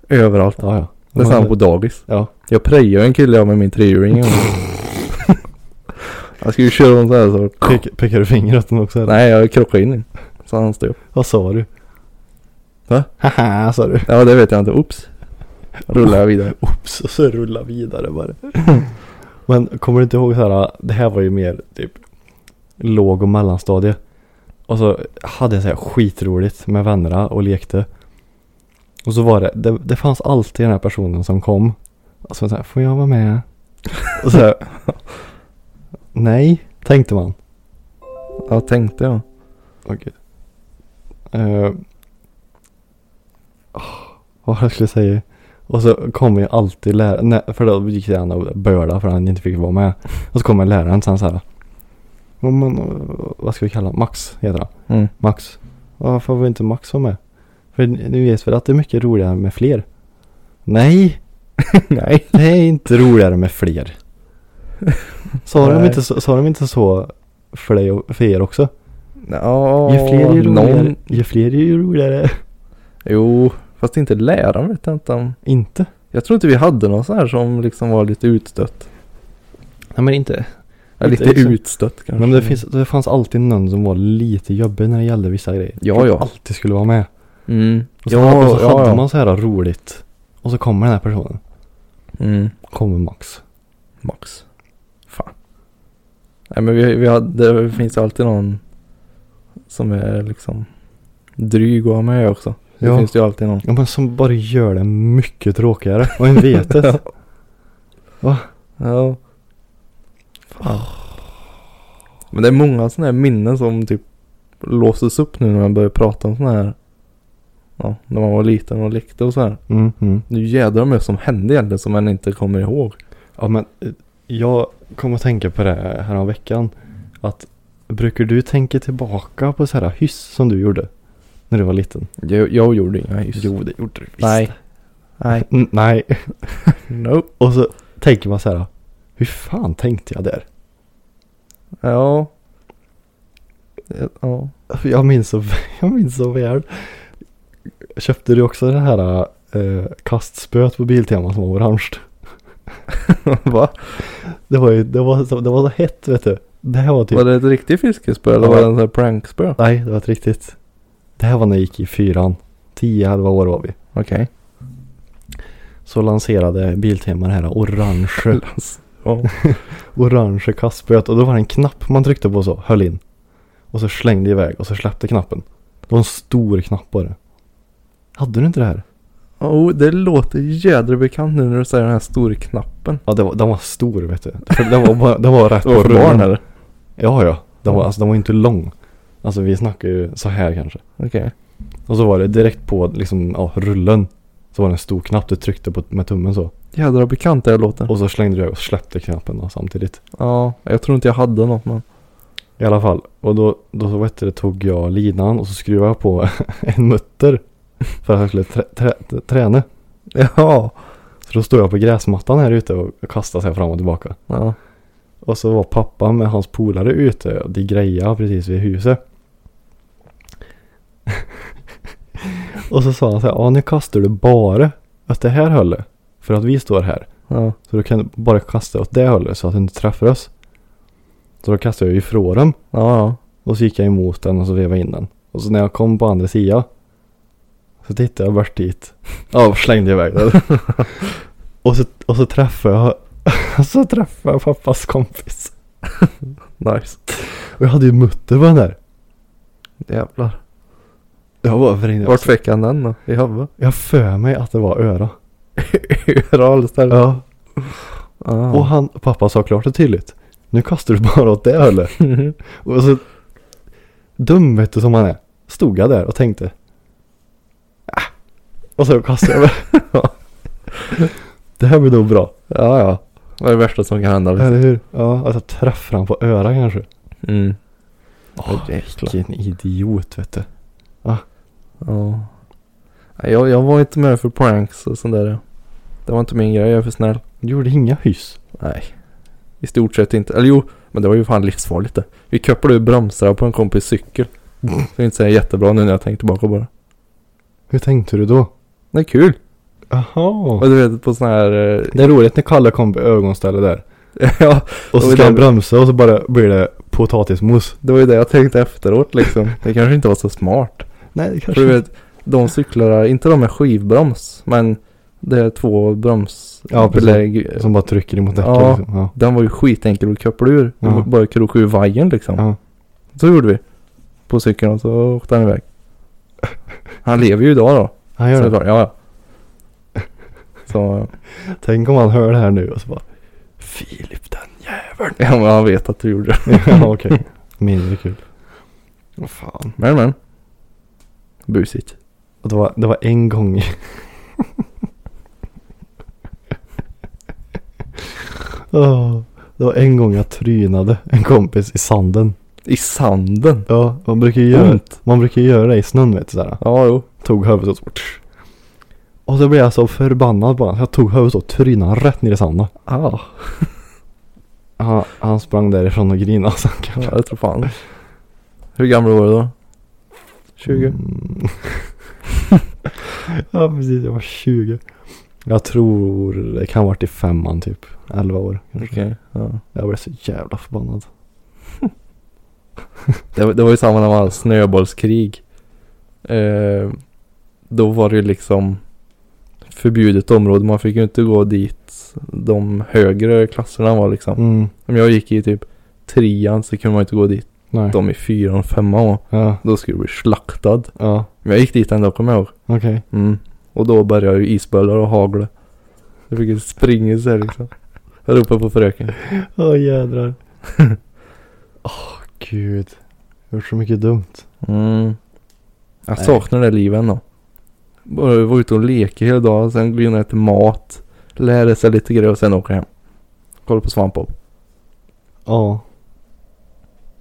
C: Överallt.
B: Ja ja.
C: Det är
B: Man-
C: samma på dagis.
B: Ja.
C: Jag prejade en kille jag med min trehjuling. jag skulle ju köra om så här så.
B: Pek, pekar du finger åt den också eller?
C: Nej jag krockade in i den. Så han stod upp.
B: Vad sa du?
C: Va?
B: Haha sa du.
C: Ja det vet jag inte. Oops. Rullade jag vidare.
B: Oops, och så rulla vidare bara. Men kommer du inte ihåg så här, det här var ju mer typ låg och mellanstadie. Och så hade jag så här skitroligt med vännerna och lekte. Och så var det, det, det fanns alltid den här personen som kom. Och så var det så här, får jag vara med? Och så här, nej, tänkte man.
C: Ja tänkte jag.
B: Okej. Eh, ah, vad var det jag skulle säga? Och så kommer ju alltid läraren, nej, för då gick det an och böla för han inte fick vara med. Och så kommer läraren sen så här. "Ja, Men, eh, vad ska vi kalla honom? Max heter han.
C: Mm.
B: Max. Varför får inte Max vara med? För nu vet vi att det är mycket roligare med fler. Nej,
C: Nej.
B: det är inte roligare med fler. Sa de
C: Nej.
B: inte så, sa de inte så för dig och för er också?
C: Ja.
B: Ju fler ju roligare.
C: någon.
B: Ju fler ju roligare.
C: Jo. Fast inte läraren vet jag inte om.
B: Inte?
C: Jag tror inte vi hade någon så här som liksom var lite utstött.
B: Nej men inte.
C: Ja,
B: Inte
C: lite
B: exakt.
C: utstött kanske.
B: Men det, finns, det fanns alltid någon som var lite jobbig när det gällde vissa grejer.
C: Ja,
B: Som
C: ja.
B: alltid skulle vara med.
C: Mm.
B: Och så,
C: ja,
B: och så
C: ja,
B: hade
C: ja.
B: man så här roligt. Och så kommer den här personen.
C: Mm.
B: Kommer Max.
C: Max. Fan. Nej men vi, vi hade, det finns ju alltid någon som är liksom dryg att ha med också. Det
B: Ja.
C: finns ju alltid någon.
B: Ja men som bara gör det mycket tråkigare. Och en vet det.
C: Ja. Fan. Men det är många sådana här minnen som typ låses upp nu när man börjar prata om sådana här. Ja, när man var liten och lekte och så här.
B: Mm, mm.
C: Nu jädrar vad mycket som hände egentligen som man inte kommer ihåg.
B: Ja men eh, jag kom att tänka på det här om veckan Att Brukar du tänka tillbaka på så här hyss som du gjorde? När du var liten?
C: Jag, jag gjorde inga hyss.
B: Jo, det gjorde du visst.
C: Nej. Nej.
B: Mm, nej.
C: Nope.
B: Och så tänker man så här. Hur fan tänkte jag där?
C: Ja. Ja.
B: Jag minns så, jag minns så väl. Köpte du också det här eh, kastspöet på Biltema som var orange?
C: Va?
B: Det var ju, det var så, det var så hett vet du. Det här var typ,
C: Var det ett riktigt fiskespö eller
B: Ja.
C: var det en sån här prankspö?
B: nej det var ett riktigt. Det här var när jag gick i fyran. Tio, halva år var vi.
C: Okej.
B: Så lanserade Biltema det här orange,
C: Ja.
B: orange kastspöet. Och då var det en knapp man tryckte på så, höll in. Och så slängde iväg och så släppte knappen. Det var en stor knapp bara. Hade du inte det här?
C: Oh, det låter jädra bekant nu när du säger den här stora knappen.
B: Ja, det var, den var stor vet du. Den var, bara, den var rätt
C: Det var för
B: på rummen.
C: barn eller?
B: Ja, ja. Den var, alltså, den var inte lång. Alltså vi snackar ju så här kanske.
C: Okej.
B: Och så var det direkt på liksom, ja, rullen. Så var det en stor knapp du tryckte på med tummen så.
C: Jädra bekant det här låter.
B: Och så slängde du iväg och släppte knappen då, samtidigt.
C: Ja, jag tror inte jag hade något men.
B: I alla fall. Och då, då så vet du, det, tog jag linan och så skruvade jag på en mutter. För att jag skulle trä, trä, träna.
C: Ja.
B: Så då stod jag på gräsmattan här ute och kastade sig fram och tillbaka.
C: Ja.
B: Och så var pappa med hans polare ute och de grejade precis vid huset. och så sa han så här, ja nu kastar du bara åt det här hållet. För att vi står här.
C: Ja.
B: Så du kan bara kasta åt det hållet så att du inte träffar oss. Så då kastade jag ifrån dem.
C: Ja.
B: Och så gick jag emot den och så vevade in den. Och så när jag kom på andra sidan. Så tittade jag bort dit. Ja, och slängde iväg den. och, så, och så träffade jag. så träffade jag pappas kompis.
C: ja. Nice.
B: Och jag hade ju mutter på den där.
C: Jävlar.
B: Jag var för
C: Vart fick han den då? I huvudet?
B: Jag för mig att det var öra.
C: Överallt
B: Ja. Och
C: Ja.
B: han, pappa sa klart och tydligt. Nu kastar du bara åt det hållet. Och så dum vet du som han är. Stod jag där och tänkte. "Ah." Och så kastade jag mig. Ja. det här blir nog bra.
C: Ja, ja. Vad är det värsta som kan hända? liksom?
B: Eller hur? Ja, att jag träffar han på öra kanske.
C: Mm.
B: Åh,
C: jäklar.
B: vilken idiot vet du.
C: Ja. Nej, Jag, jag var inte med för pranks och sånt där. Det var inte min grej, jag är för snäll.
B: Gjorde inga hyss.
C: Nej. I stort sett inte. Eller jo, men det var ju fan livsfarligt det. Vi köpade ju bromsar på en kompis cykel.
B: Mm.
C: Det är inte så här jättebra nu när jag tänker tillbaka bara.
B: Hur tänkte du då?
C: Det är kul.
B: Jaha.
C: Och du vet på sån här... eh,
B: Det är roligt när Kalle kom på övergångsstället där.
C: ja,
B: Och så
C: Och
B: ska
C: det-
B: han bromsa och så bara blir det potatismos.
C: det var ju det jag tänkte efteråt liksom. Det kanske inte var så smart.
B: Nej, det
C: För du vet, de cyklarna, inte de med skivbroms, men det är två
B: Ja, precis.
C: bromsbelägg.
B: Som bara trycker emot däcken.
C: Ja.
B: Liksom. Ja.
C: Den var ju skitenkel att köpla ur.
B: Ja.
C: Ja. Bara kroka ur vajern liksom.
B: Ja.
C: Så gjorde vi. På cykeln och så åkte han iväg. Han lever ju idag då.
B: Han gör det.
C: Såklart. Ja, ja. Så,
B: Tänk om han hör det här nu och så bara Filip den jäveln.
C: ja men han vet att du gjorde det.
B: ja okej. Mindre kul. Vad fan.
C: Men men. Busigt.
B: Och det, var, det var en gång. Åh, det var en gång jag trynade en kompis i sanden.
C: I sanden.
B: Ja, man brukar ju göra,
C: Ont.
B: man brukar ju göra det i snön vet du sådär.
C: Ja, jo.
B: Tog huvudet och så Och så blev jag så förbannad på honom. Jag tog huvudet och trynade honom rätt ner i sanden.
C: Ah,
B: Han, han sprang därifrån och grinade så han
C: ja,
B: kanske.
C: jag tror fan. Hur gammal var du då? 20?
B: Mm. ja precis, jag var 20. Jag tror det kan ha varit i femman typ. 11 år kanske.
C: Okej. Ja.
B: Jag blev så jävla förbannad.
C: Det, var- det var ju samma när man hade snöbollskrig. Eh, då var det ju liksom förbjudet område. Man fick ju inte gå dit de högre klasserna var liksom.
B: Mm.
C: Om jag gick i typ trean så kunde man inte gå dit.
B: Nej.
C: De i fyran och femman var.
B: Ja,
C: Då skulle du bli slaktad.
B: ja,
C: Men jag gick dit ändå kommer jag ihåg.
B: okej.
C: Mm. Och då började ju isbölar och hagla. Jag fick ju springa så här liksom. Jag ropade på fröken.
B: Åh jädrar. Åh gud. Jag har gjort så mycket dumt.
C: Mm. Jag
B: Nej.
C: saknar det livet ändå. Bara vara ute och leka hela dagen, sen gå in och äta mat. Lära sig lite grejer och sen åka hem. Kolla på svampbob.
B: Ja.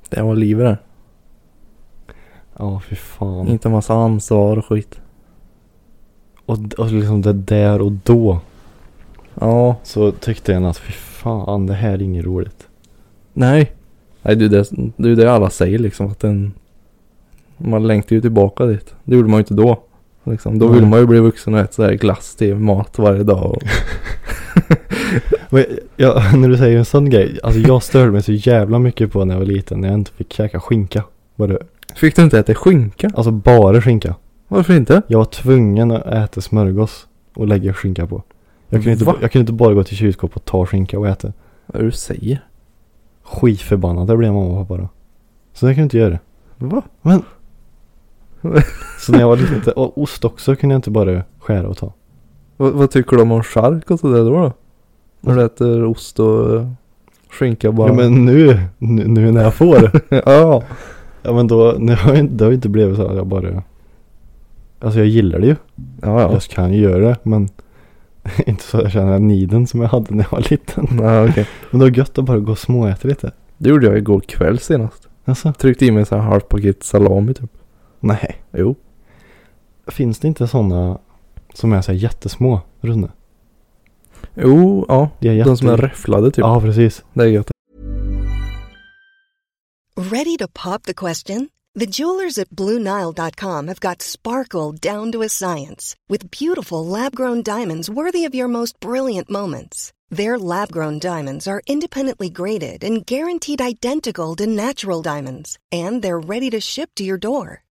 C: Det var livet det.
B: Ja, fy fan.
C: Inte massa ansvar och skit.
B: Och, och liksom det där och då
C: Ja.
B: så tyckte jag att fy fan, det här är inget roligt.
C: Nej. Nej du, det, det är ju det alla säger liksom att den... Man längtar ju tillbaka dit. Det gjorde man ju inte då. Liksom, då
B: Nej.
C: ville man ju bli vuxen och äta sådär glass till mat varje dag. Och,
B: Men jag, jag, när du säger en sån grej, alltså jag störde mig så jävla mycket på när jag var liten när jag inte fick käka skinka. Var det?
C: fick du inte äta skinka?
B: Alltså bara skinka.
C: Varför inte?
B: Jag var tvungen att äta smörgås och lägga skinka på. Jag kunde,
C: Va?
B: inte, jag kunde inte bara gå till kylskåpet och ta skinka och äta.
C: Vad är det du säger?
B: Skitförbannad, där blev mamma och pappa då. Så jag kunde inte göra det.
C: Va?
B: Så när jag var liten, och ost också kunde jag inte bara skära och ta.
C: Vad, vad tycker du om chark och sådär då? då? När du äter ost och eh, skinka bara?
B: Ja men nu, nu, nu när jag får.
C: ja.
B: ja men då, nu har jag, inte- det har ju inte blivit så att jag bara. Alltså jag gillar det ju.
C: Ja, ja.
B: Jag kan ju göra det men. inte så jag känner den niden som jag hade när jag var liten.
C: Nej, okej.
B: Men det var gött att bara gå och småäta lite.
C: Det gjorde jag igår kväll senast.
B: Alltså,
C: Tryckte i mig så här halvt paket salami typ.
B: nej.
C: Jo.
B: Finns det inte sådana som är så här jättesmå, runda?
C: Jo, ja.
B: Det är jätte...
C: De som är räfflade typ.
B: Ja, precis.
C: Det är gött.
D: Ready to pop the question? The jewelers at BlueNile.com have got sparkle down to a science with beautiful lab grown diamonds worthy of your most brilliant moments. Their lab grown diamonds are independently graded and guaranteed identical to natural diamonds, and they're ready to ship to your door.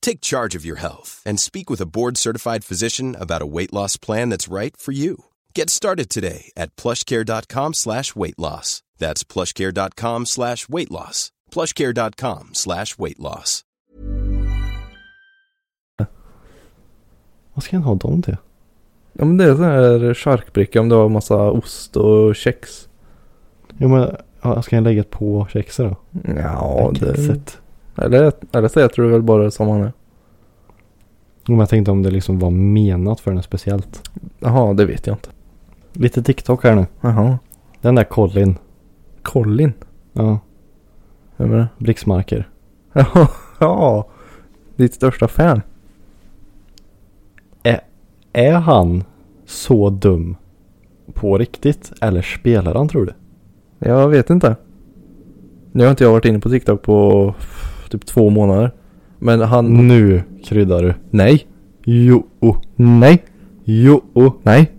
A: Take charge of your health and speak with a board-certified physician about a weight loss plan that's right for you. Get started today at plushcare.com slash weight loss. That's plushcare.com slash weight loss. Plushcare.com slash weight loss.
B: Vad ska han ha dem till?
C: Ja men det är sån här charkbricka om du har massa ost och kex.
B: Jo men, ja, ska jag lägga ett på kexet då?
C: Ja,
B: det...
C: det...
B: Kexet.
C: Eller, eller så äter du väl bara som man är.
B: Jo, men jag tänkte om det liksom var menat för något speciellt.
C: Jaha, det vet jag inte.
B: Lite TikTok här nu.
C: Jaha.
B: Den där Colin.
C: Colin.
B: Ja,
C: Vem är det?
B: Blixmarker.
C: Jaha, ja. Ditt största fan.
B: Är han så dum på riktigt? Eller spelar han tror du?
C: Jag vet inte. Nu har inte jag varit inne på TikTok på f- typ två månader. Men han...
B: Nu kryddar du.
C: Nej.
B: Jo,
C: Oh. Nej. Oh.
B: jo.
C: Nej.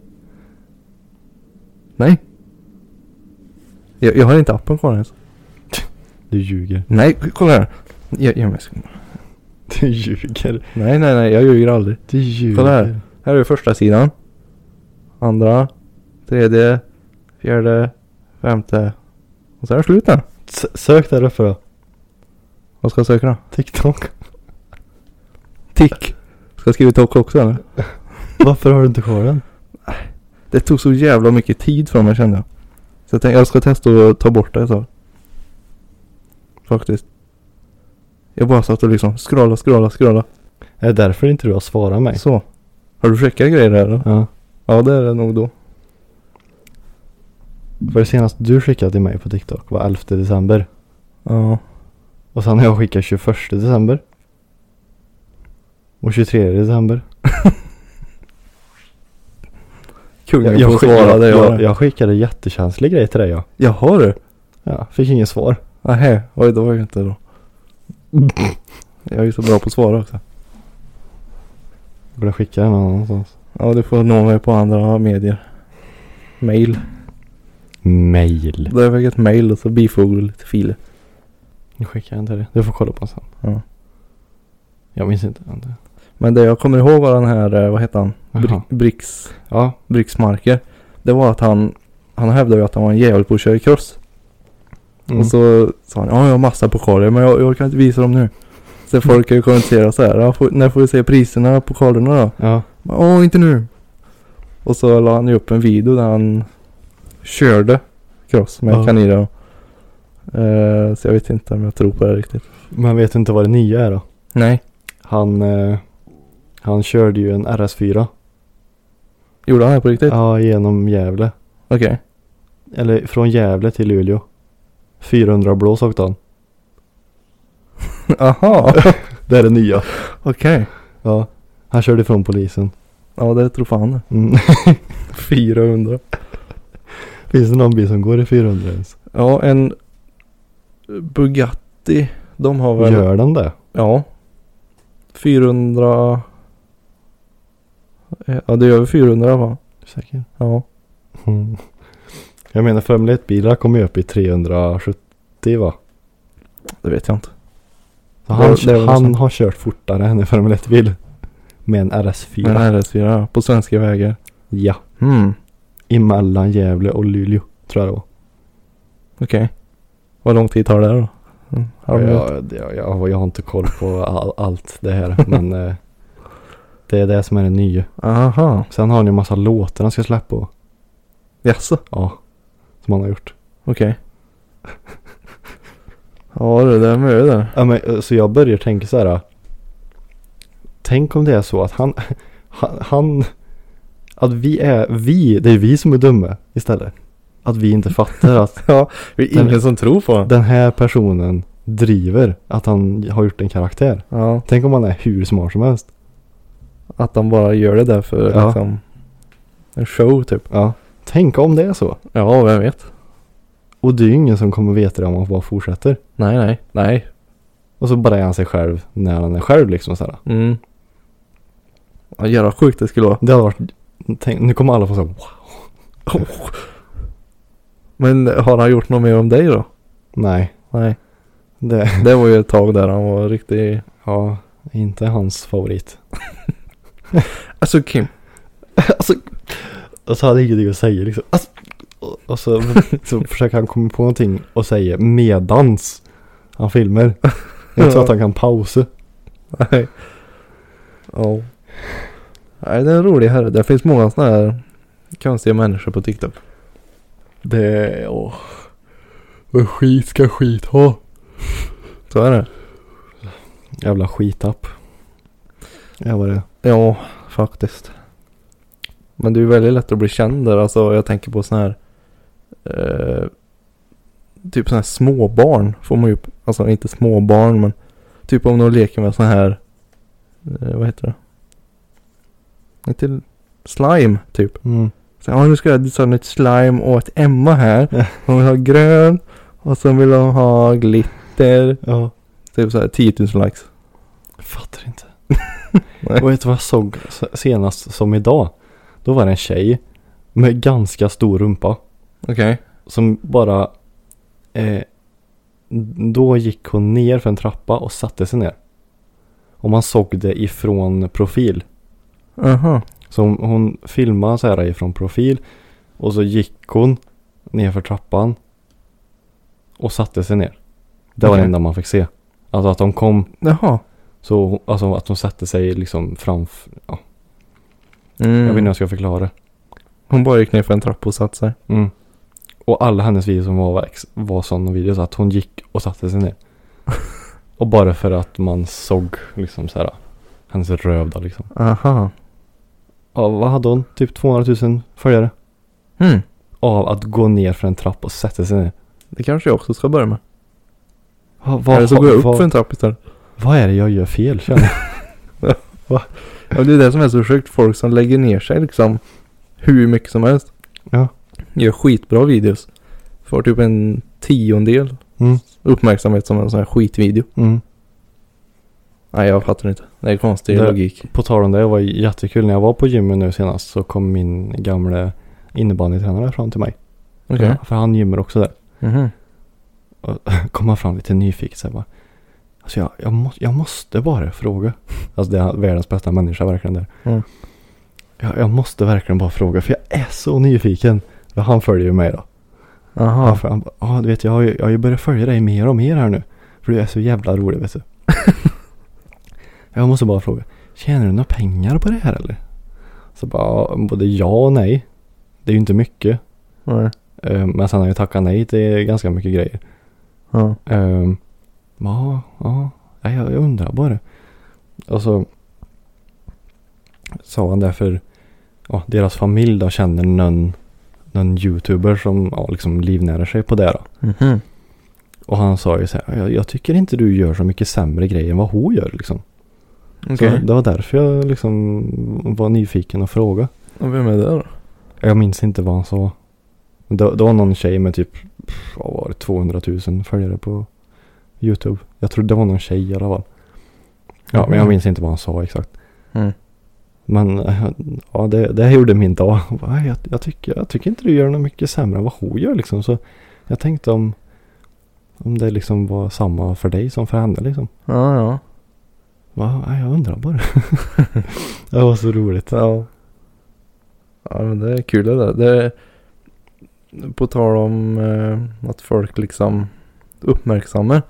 C: Nej. Jag, jag har inte appen kvar ens.
B: Du ljuger.
C: Nej, k- kolla här. Jag, jag, jag, ska-
B: Du ljuger.
C: nej, nej, nej. Jag ljuger aldrig.
B: Du ljuger.
C: Kolla här. Här är första sidan. Andra. Tredje. Fjärde. Femte. Och så är det slut där.
B: S- sök där uppe då.
C: Vad ska jag söka då?
B: TikTok.
C: Tick. Ska jag skriva tock också eller?
B: Varför har du inte kvar den?
C: Det tog så jävla mycket tid från mig kände jag. Så jag tänkte jag ska testa att ta bort det ett tag. Faktiskt. Jag bara satt och liksom scrolla, scrolla, scrolla.
B: Är det därför inte du har svarat mig?
C: Så. Har du checkat grejer här eller?
B: Ja.
C: Ja det är det nog då.
B: För det senaste du skickade till mig på TikTok var 11 december.
C: Ja.
B: Och sen har jag skickat 21 december. Och 23 december.
C: Kungen
B: Jag, jag,
C: får
B: skick,
C: svara
B: jag,
C: det
B: jag,
C: jag.
B: jag skickade jättekänslig grej till dig ja.
C: Jaha du.
B: ja. Fick inget svar.
C: Nähä. Oj det var ju inte då. Jag är ju så bra på att svara också.
B: Jag borde skicka den någon annanstans.
C: Ja du får nå mig på andra medier. Mail.
B: Mail.
C: Då har jag fick ett mail och så bifogar du lite filer.
B: Jag skickar den till dig. Du får kolla på den sen.
C: Ja.
B: Jag minns inte. Vänta.
C: Men det jag kommer ihåg var den här, eh, vad hette han?
B: Jaha.
C: Bri- Bricks.
B: Ja.
C: Bricksmarker. Det var att han, han hävdade ju att han var en jävel på att köra i cross.
B: Mm.
C: Och så sa han, ja jag har massa pokaler men jag, jag kan inte visa dem nu. Så folk kan ju kommentera så här. "Ja, får- När får vi se priserna på skadorna då?
B: Ja.
C: Men, Åh, inte nu. Och så la han ju upp en video där han körde cross med
B: Ja.
C: kaniner. Eh, så jag vet inte om jag tror på det riktigt.
B: Men vet du inte vad det nya är då?
C: Nej.
B: Han, eh, han körde ju en RS4.
C: Gjorde han det på riktigt?
B: Ja, genom Gävle.
C: Okej.
B: Eller från Gävle till Luleå. 400 blås åkte han.
C: Aha.
B: Det är det nya.
C: Okej.
B: Ja. Han körde ifrån polisen.
C: Ja, det tror fan det.
B: Mm.
C: 400.
B: Finns det någon bil som går i 400 ens?
C: Ja, en Bugatti. De har väl...
B: Gör den det?
C: Ja. 400. Ja, det är över 400 va?
B: Säkert.
C: Ja.
B: Mm. Jag menar Formel 1-bilar kommer ju upp i 370 va?
C: Det vet jag inte.
B: Så han
C: Det- det är väl
B: han
C: sant.
B: har kört fortare än en Formel 1-bil. Med en RS4.
C: Men RS4 ja, på svenska vägar.
B: Ja.
C: Mm.
B: Emellan Gävle och Luleå tror jag det var.
C: Okej. Vad lång tid tar det då? Mm. halv minut.
B: jag, jag, jag, jag har inte koll på all, allt det här men eh, det är det som är det nya.
C: Aha.
B: Sen har han ju en massa låtar han ska släppa och-
C: Jaså?
B: Ja. Som han har gjort.
C: Okej. ja du, det är möjligt där.
B: Ja, men, eh, så jag börjar tänka så här. eh, Tänk om det är så att han, han, han att vi är, vi, det är vi som är dumma istället. Att vi inte fattar att
C: Ja, det är
B: Den-
C: ingen som tror på den.
B: den här personen driver att han har gjort en karaktär.
C: Ja,
B: Tänk om han är hur smart som helst.
C: att de bara gör det där för
B: Ja.
C: liksom en show typ.
B: Ja. Tänk om det är så.
C: Ja, vem vet?
B: Och det är ju ingen som kommer veta det om han bara fortsätter.
C: Nej, nej, nej.
B: Och så bara är han sig själv när han är själv liksom såhär.
C: Mm. Ja, jävla sjukt det skulle vara.
B: Det hade varit, tänk, nu kommer alla få såhär,
C: Men har han gjort något mer om dig då?
B: nej,
C: Nej.
B: det,
C: Det var ju ett tag där han var riktigt...
B: ja, inte hans favorit.
C: Alltså Kim.
B: Alltså, och så Alltså, hade jag ingenting att säga liksom. Alltså, och- och så, så försöker han komma på någonting och säga medans han filmer. Jag tror att han kan pausa.
C: Nej. Ja. Nej, det är en rolig herre. Det finns många sådana här konstiga människor på TikTok.
B: Det, åh. Men skit ska skit ha.
C: Så är det.
B: Jävla skitapp. Ja, vad det är.
C: Ja, faktiskt. Men det är ju väldigt lätt att bli känd där. Alltså jag tänker på sådana här. Eh, typ sådana här småbarn får man ju upp. Alltså inte småbarn men. Typ om de leker med sådana här. Eh, vad heter det? Inte slime typ.
B: Mm.
C: Så, ja, nu ska jag designa ett slime åt Emma här. Hon vill ha grön. Och sen vill hon ha glitter.
B: Ja.
C: Typ såhär 10 000 likes.
B: Fattar inte. och vet du vad jag såg s- senast som idag? Då var det en tjej med ganska stor rumpa
C: Okej.
B: som bara eh, då gick hon ner för en trappa och satte sig ner. Och man såg det ifrån profil.
C: Aha.
B: Så hon, hon filmade så här ifrån profil och så gick hon ner för trappan och satte sig ner. Det var det
C: Okej.
B: enda man fick se. Alltså att de kom
C: Jaha.
B: Så alltså att de satte sig liksom framför, ja,
C: Mm.
B: jag vet inte hur jag ska förklara det.
C: Hon bara gick ner för en trappa och satte sig.
B: Mm. Och alla hennes videos som var, var, ex- var sådana videos att hon gick och satte sig ner. och bara för att man såg liksom så här, hennes röv då liksom.
C: Aha.
B: Ja, vad hade hon? Typ 200 000 följare?
C: Mm.
B: Av att gå ner för en trappa och sätta sig ner.
C: Det kanske jag också ska börja med.
B: Va, va,
C: Eller så går jag upp
B: vad,
C: för en trappa istället.
B: vad är det jag gör fel känner jag?
C: Ja, det är det som är så sjukt. Folk som lägger ner sig liksom hur mycket som helst.
B: Ja.
C: Gör skitbra videos. Får typ en tiondel
B: Mm.
C: uppmärksamhet som en sån här skitvideo.
B: Mm.
C: Nej, jag fattar inte. Det är konstig
B: Det-
C: logik.
B: På tal om det, det var jättekul. När jag var på gymmet nu senast så kom min gamle innebandytränare fram till mig.
C: Okej.
B: Ja, för han gymmar också där.
C: Mhm.
B: Kommer fram lite nyfiket så här bara. Alltså jag, jag, må, jag måste bara fråga. Alltså det är världens bästa människa verkligen där.
C: Mm.
B: Jag, jag måste verkligen bara fråga för jag är så nyfiken. För han följer ju mig då.
C: Aha.
B: Han, för- han bara, "Ah, ja du vet jag har, ju, jag har ju börjat följa dig mer och mer här nu. För du är så jävla rolig vet du. Jag måste bara fråga. Tjänar du några pengar på det här eller? Så bara både ja och nej. Det är ju inte mycket.
C: Nej.
B: Eh, Men sen har jag tackat nej till ganska mycket grejer.
C: Ja.
B: Ehm, Ja, ja, ja, jag, jag undrar bara. Och så sa han därför, ja, deras familj då känner någon, någon youtuber som ja, liksom livnär sig på det då.
C: Mhm.
B: Och han sa ju så här, jag, jag tycker inte du gör så mycket sämre grejer än vad hon gör liksom.
C: Okej.
B: Så det var därför jag liksom var nyfiken och frågade.
C: Och vem är det då?
B: Jag minns inte vad han sa. Men Det, det var någon tjej med typ, pff, vad var det, 200 000 följare på YouTube. Jag tror det var någon tjej i alla fall. Ja, men jag minns inte vad han sa exakt.
C: Mm.
B: Men eh, ja, det, det här gjorde min dag. Jag, bara, "Nej, jag, jag, tycker, jag tycker inte du gör något mycket sämre än vad hon gör liksom. Så jag tänkte om, om det liksom var samma för dig som för henne liksom.
C: Ja, ja.
B: Va? Nej, Jag undrar bara. det var så roligt.
C: Ja. Ja men det är kul det där. Det är, på tal om eh, att folk liksom uppmärksammar.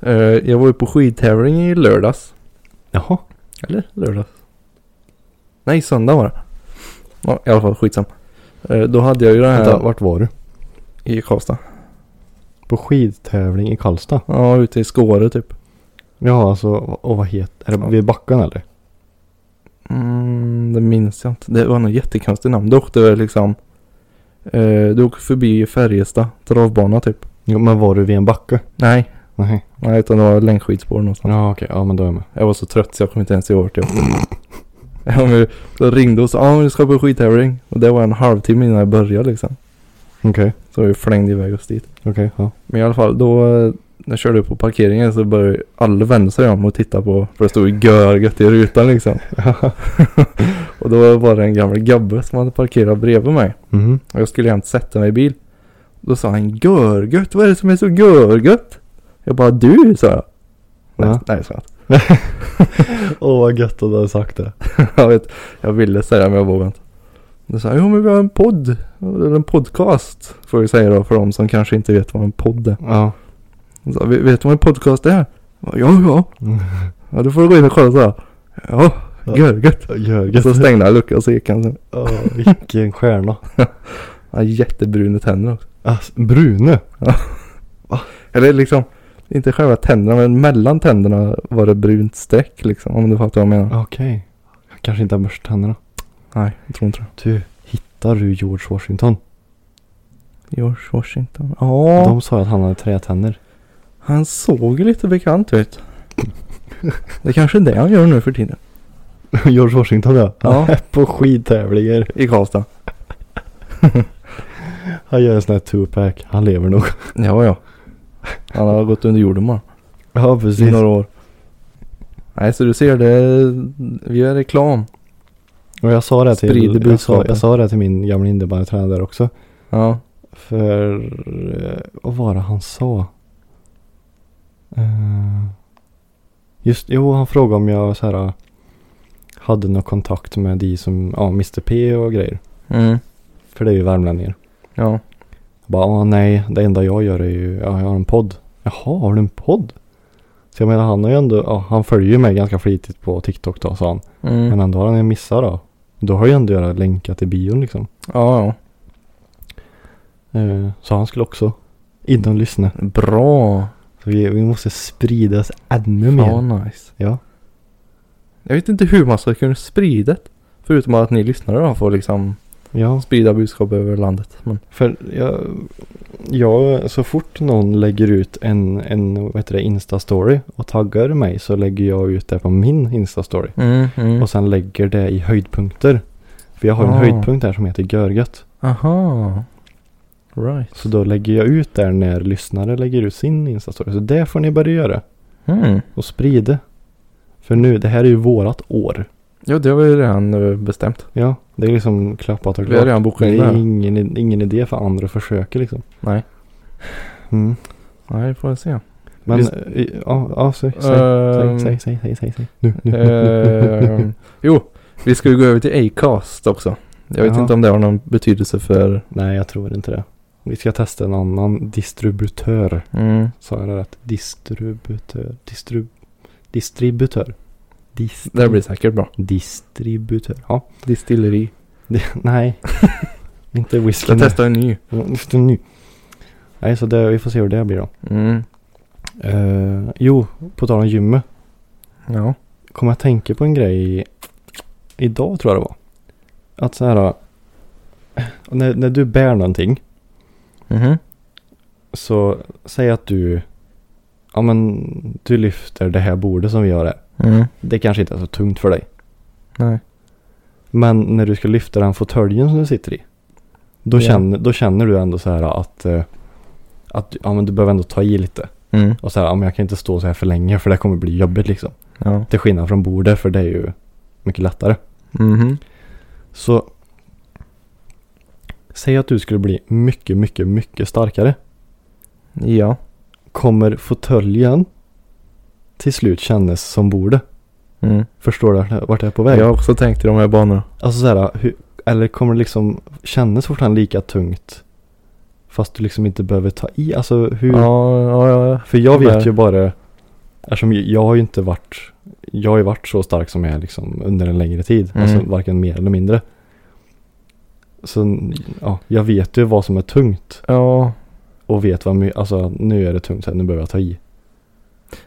C: Eh, jag var ju på skidtävling i lördags.
B: Jaha.
C: Eller lördags? Nej söndag var det. Ja, I alla fall skitsam. Eh, då hade jag ju den här
B: Vänta, vart var du?
C: i Karlstad.
B: På skidtävling i Karlstad.
C: Ja ute i Skåre typ.
B: Ja, alltså, och vad heter Är det vid backen eller?
C: Mm, det minns jag inte. Det var något jättekonstigt namn. Du åkte väl liksom. Eh, du åkte förbi Färjestad travbana typ.
B: Jo, men var du vid en backe?
C: Nej.
B: Nej.
C: Nej utan det var längdskidspår någonstans.
B: Ja, okej. Ja, men då är jag med.
C: Jag var så trött så jag kom inte ens ihåg typ. vart jag åkte. Ja, men då ringde och sa ah, vi ska på skidtävling. Och det var en halvtimme innan jag började liksom.
B: Okej.
C: Så vi flängde iväg oss dit.
B: Okej, ja.
C: Men i alla fall då eh, när jag körde upp på parkeringen så började alla vända sig om och titta på. För det stod ju görgött i rutan liksom. och då var det en gammal gubbe som hade parkerat bredvid mig.
B: Mhm.
C: Och jag skulle jämt sätta mig i bil. Då sa han görgött, vad är det som är så görgött? Jag bara du sa jag. Nej,
B: Ja.
C: nej sa han.
B: Åh, vad gött att du hade sagt det.
C: jag, vet, jag ville säga det men jag vågade inte. Då sa han, jo men vi har en podd. Eller en podcast. Får vi säga då för de som kanske inte vet vad en podd är.
B: Ja.
C: Han sa, "Vet- vet du vad en podcast är? Jag bara, ja, ja.
B: Mm.
C: Ja, då får du gå in och kolla så här. Ja, görgött.
B: Jörgen.
C: Så stängde han luckan och så gick han sen.
B: Åh, vilken stjärna.
C: Han har jättebruna tänder också.
B: Alltså, Brune.
C: Eller liksom, inte själva tänderna men mellan tänderna var det brunt streck liksom. Om du fattar vad jag menar.
B: Okej. Jag Kanske inte har borstat tänderna.
C: Nej, jag tror inte det.
B: Du, hittar du George Washington?
C: George Washington. Ja,
B: De sa att han hade trätänder.
C: han såg ju lite bekant ut. Det är kanske är det han gör nu för tiden.
B: George Washington ja.
C: Ja.
B: På skidtävlingar.
C: I Karlstad.
B: Han gör en sån här two-pack. Han lever nog.
C: Ja, ja. Han har gått under jorden bara.
B: Ja,
C: I
B: precis.
C: några år. Nej, så du ser det. Vi gör reklam.
B: Och jag sa det
C: Sprider
B: till, jag sa, jag
C: budskapet.
B: sa det till min gamla innebandytränare också.
C: Ja.
B: För eh, vad var det han sa? Eh, just, jo han frågade om jag så här, eh, hade någon kontakt med de som, ja Mr P och grejer.
C: Mm.
B: För det är ju värmlänningar.
C: Ja.
B: Jag bara, ah, nej det enda jag gör är ju, ja, jag har en podd. Jaha, har du en podd? Så jag menar han har ju ändå, ja han följer ju mig ganska flitigt på TikTok då sa han.
C: Mm.
B: Men ändå har han ju missat då. Då har jag ju ändå jag länkat till bion liksom.
C: Ja, ja.
B: Eh, så han skulle också in och lyssna.
C: Bra.
B: Så vi, vi måste spridas ännu mer.
C: Ja, nice.
B: Ja.
C: Jag vet inte hur man ska kunna sprida det. Förutom att ni lyssnare då får liksom
B: Ja,
C: sprida budskap över landet. Men,
B: för jag, jag, så fort någon lägger ut en, en vad heter det, Insta-story och taggar mig så lägger jag ut det på min Insta-story.
C: mm, mm.
B: Och sen lägger det i höjdpunkter. För jag har en
C: Ah.
B: höjdpunkt här som heter görgött.
C: Aha. Right.
B: Så då lägger jag ut där när lyssnare lägger ut sin Insta-story. Så det får ni börja göra.
C: Mm.
B: Och sprida. För nu, det här är ju vårat år.
C: Ja, det har vi redan eh, bestämt.
B: Ja, det är liksom klappat och
C: Vi har
B: klart.
C: redan bokat in
B: Det
C: det.
B: är
C: här.
B: ingen, ingen idé för andra att försöka liksom.
C: Nej.
B: Mm.
C: Nej, vi får väl se.
B: Men,
C: Visst-
B: eh, ja, ja, säg, säg,
C: Ehm,
B: säg, säg, säg, säg, säg, säg. Nu, nu,
C: ehm, Jo, vi ska ju gå över till Acast också. Jag vet
B: Ja.
C: inte om det har någon betydelse för...
B: Nej, jag tror inte det. Vi ska testa en annan distributör.
C: Mm.
B: Sa jag det rätt? Distributör. Distrib distributör. Dis-
C: Det blir säkert bra.
B: Distributör. Ja.
C: Distilleri.
B: Det, nej. Inte whisky.
C: Ska testa en ny.
B: nu. Nej, så det, vi får se hur det blir då.
C: Mm.
B: Eh, jo, på tal om gymmet.
C: Ja.
B: Kom jag att tänka på en grej idag tror jag det var. Att så här. eh, När, när du bär någonting.
C: Mhm.
B: Så säg att du. Ja men du lyfter det här bordet som vi har här.
C: Mm.
B: Det kanske inte är så tungt för dig.
C: Nej.
B: Men när du ska lyfta den fåtöljen som du sitter i. Då,
C: Ja.
B: känner, då känner du ändå så här att, eh, att du- ja, men du behöver ändå ta i lite.
C: Mm.
B: Och så här, ja, men jag kan inte stå så här för länge för det kommer bli jobbigt liksom.
C: Ja.
B: Till skillnad från bordet för det är ju mycket lättare.
C: Mhm.
B: Så säg att du skulle bli mycket, mycket, mycket starkare.
C: Ja.
B: Kommer fåtöljen till slut kännas som bordet?
C: Mm.
B: Förstår du vart jag är på väg?
C: Jag har också tänkt i de här banorna.
B: Alltså så här, hur, eller kommer det liksom kännas fortfarande lika tungt? Fast du liksom inte behöver ta i, alltså hur?
C: Ja, ja, ja, ja.
B: För jag vet
C: Nej.
B: ju bara, eftersom jag har ju inte varit, jag har ju varit så stark som jag är liksom under en längre tid.
C: Mm.
B: Alltså varken mer eller mindre. Så ja, jag vet ju vad som är tungt
C: ja.
B: och vet vad, my- alltså nu är det tungt, så här, nu behöver jag ta i.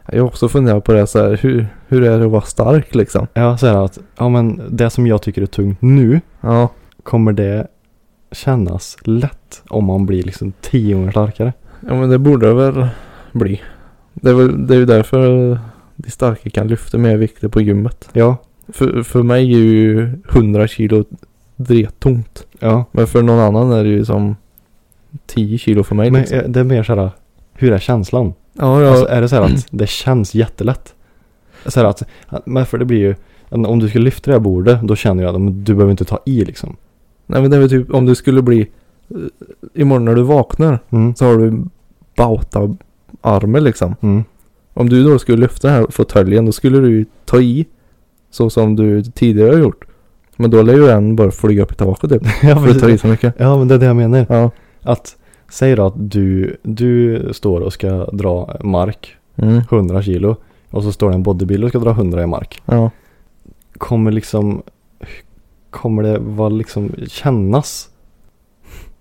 C: Jag har också funderat på det så här. Hur, hur är det att vara stark liksom?
B: Ja, så här att, ja men det som jag tycker är tungt nu,
C: Ja.
B: kommer det kännas lätt om man blir liksom tio gånger starkare?
C: Ja men det borde det väl bli. Det är, väl, det är ju därför de starka kan lyfta mer vikter på gymmet.
B: Ja,
C: För, för mig är ju 100 kilo drettungt.
B: ja.
C: Men för någon annan är det ju som 10 kilo för mig.
B: Men
C: liksom.
B: eh, det är mer så här, hur är känslan?
C: ja, ja.
B: Alltså är det så här att det känns jättelätt? Så här att, men för det blir ju, om du ska lyfta det här bordet, då känner jag att men du behöver inte ta i liksom.
C: Nej men det är väl typ om du skulle bli eh, Imorgon när du vaknar
B: Mm.
C: så har du bauta armen liksom.
B: Mm.
C: Om du då skulle lyfta den här fåtöljen då skulle du ju ta i så som du tidigare har gjort. Men då lär ju den bara flyga upp i taket typ.
B: ja,
C: För du tar i
B: precis.
C: så mycket.
B: ja, men det är det jag menar.
C: Ja.
B: Att, säg då att du, du står och ska dra mark,
C: Mm.
B: 100 kilo, och så står det en bodybuilder och ska dra 100 i mark.
C: Ja.
B: Kommer liksom, kommer det vara liksom, kännas?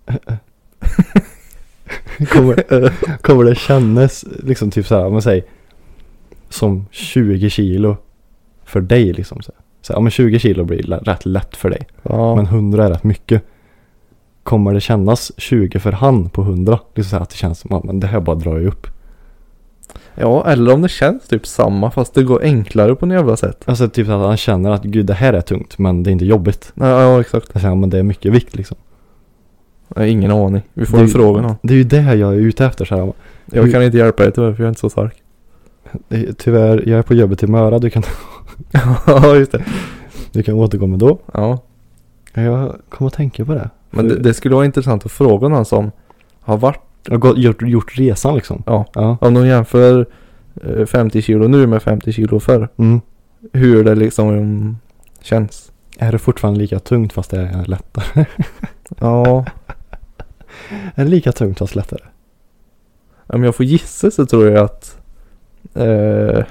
B: kommer, kommer det kännas liksom typ så här, man säger som 20 kilo för dig liksom. Så här. Så här, ja men 20 kilo blir lä- rätt lätt för dig.
C: ja.
B: Men 100 är rätt mycket. Kommer det kännas 20 för han på 100? Liksom så här att det känns som, ja men det här bara drar jag upp.
C: ja, eller om det känns typ samma fast det går enklare på något jävla sätt.
B: Alltså typ så att han känner att gud det här är tungt men det är inte jobbigt.
C: Ja, ja exakt.
B: Jag säger, ja men det är mycket vikt liksom.
C: Jag har ingen aning. Vi får
B: Det-
C: en fråga någon.
B: Det är ju det jag är ute efter så här.
C: Jag kan inte hjälpa dig tyvärr för jag är inte så stark.
B: Eh, Tyvärr, jag är på jobbet i Möra, du kan,
C: ja, just det.
B: du kan återkomma då.
C: Ja.
B: Ja, Jag kommer att tänka på det.
C: Men det, det skulle vara intressant att fråga någon som har varit,
B: Jag har gått, gjort, gjort resan liksom.
C: Ja.
B: Ja.
C: om de jämför eh, 50 kilo nu med 50 kilo förr.
B: Mm.
C: Hur det liksom mm, känns.
B: Är det fortfarande lika tungt fast det är lättare?
C: Ja.
B: Är det lika tungt fast lättare?
C: Om jag får gissa så tror jag att... Eh,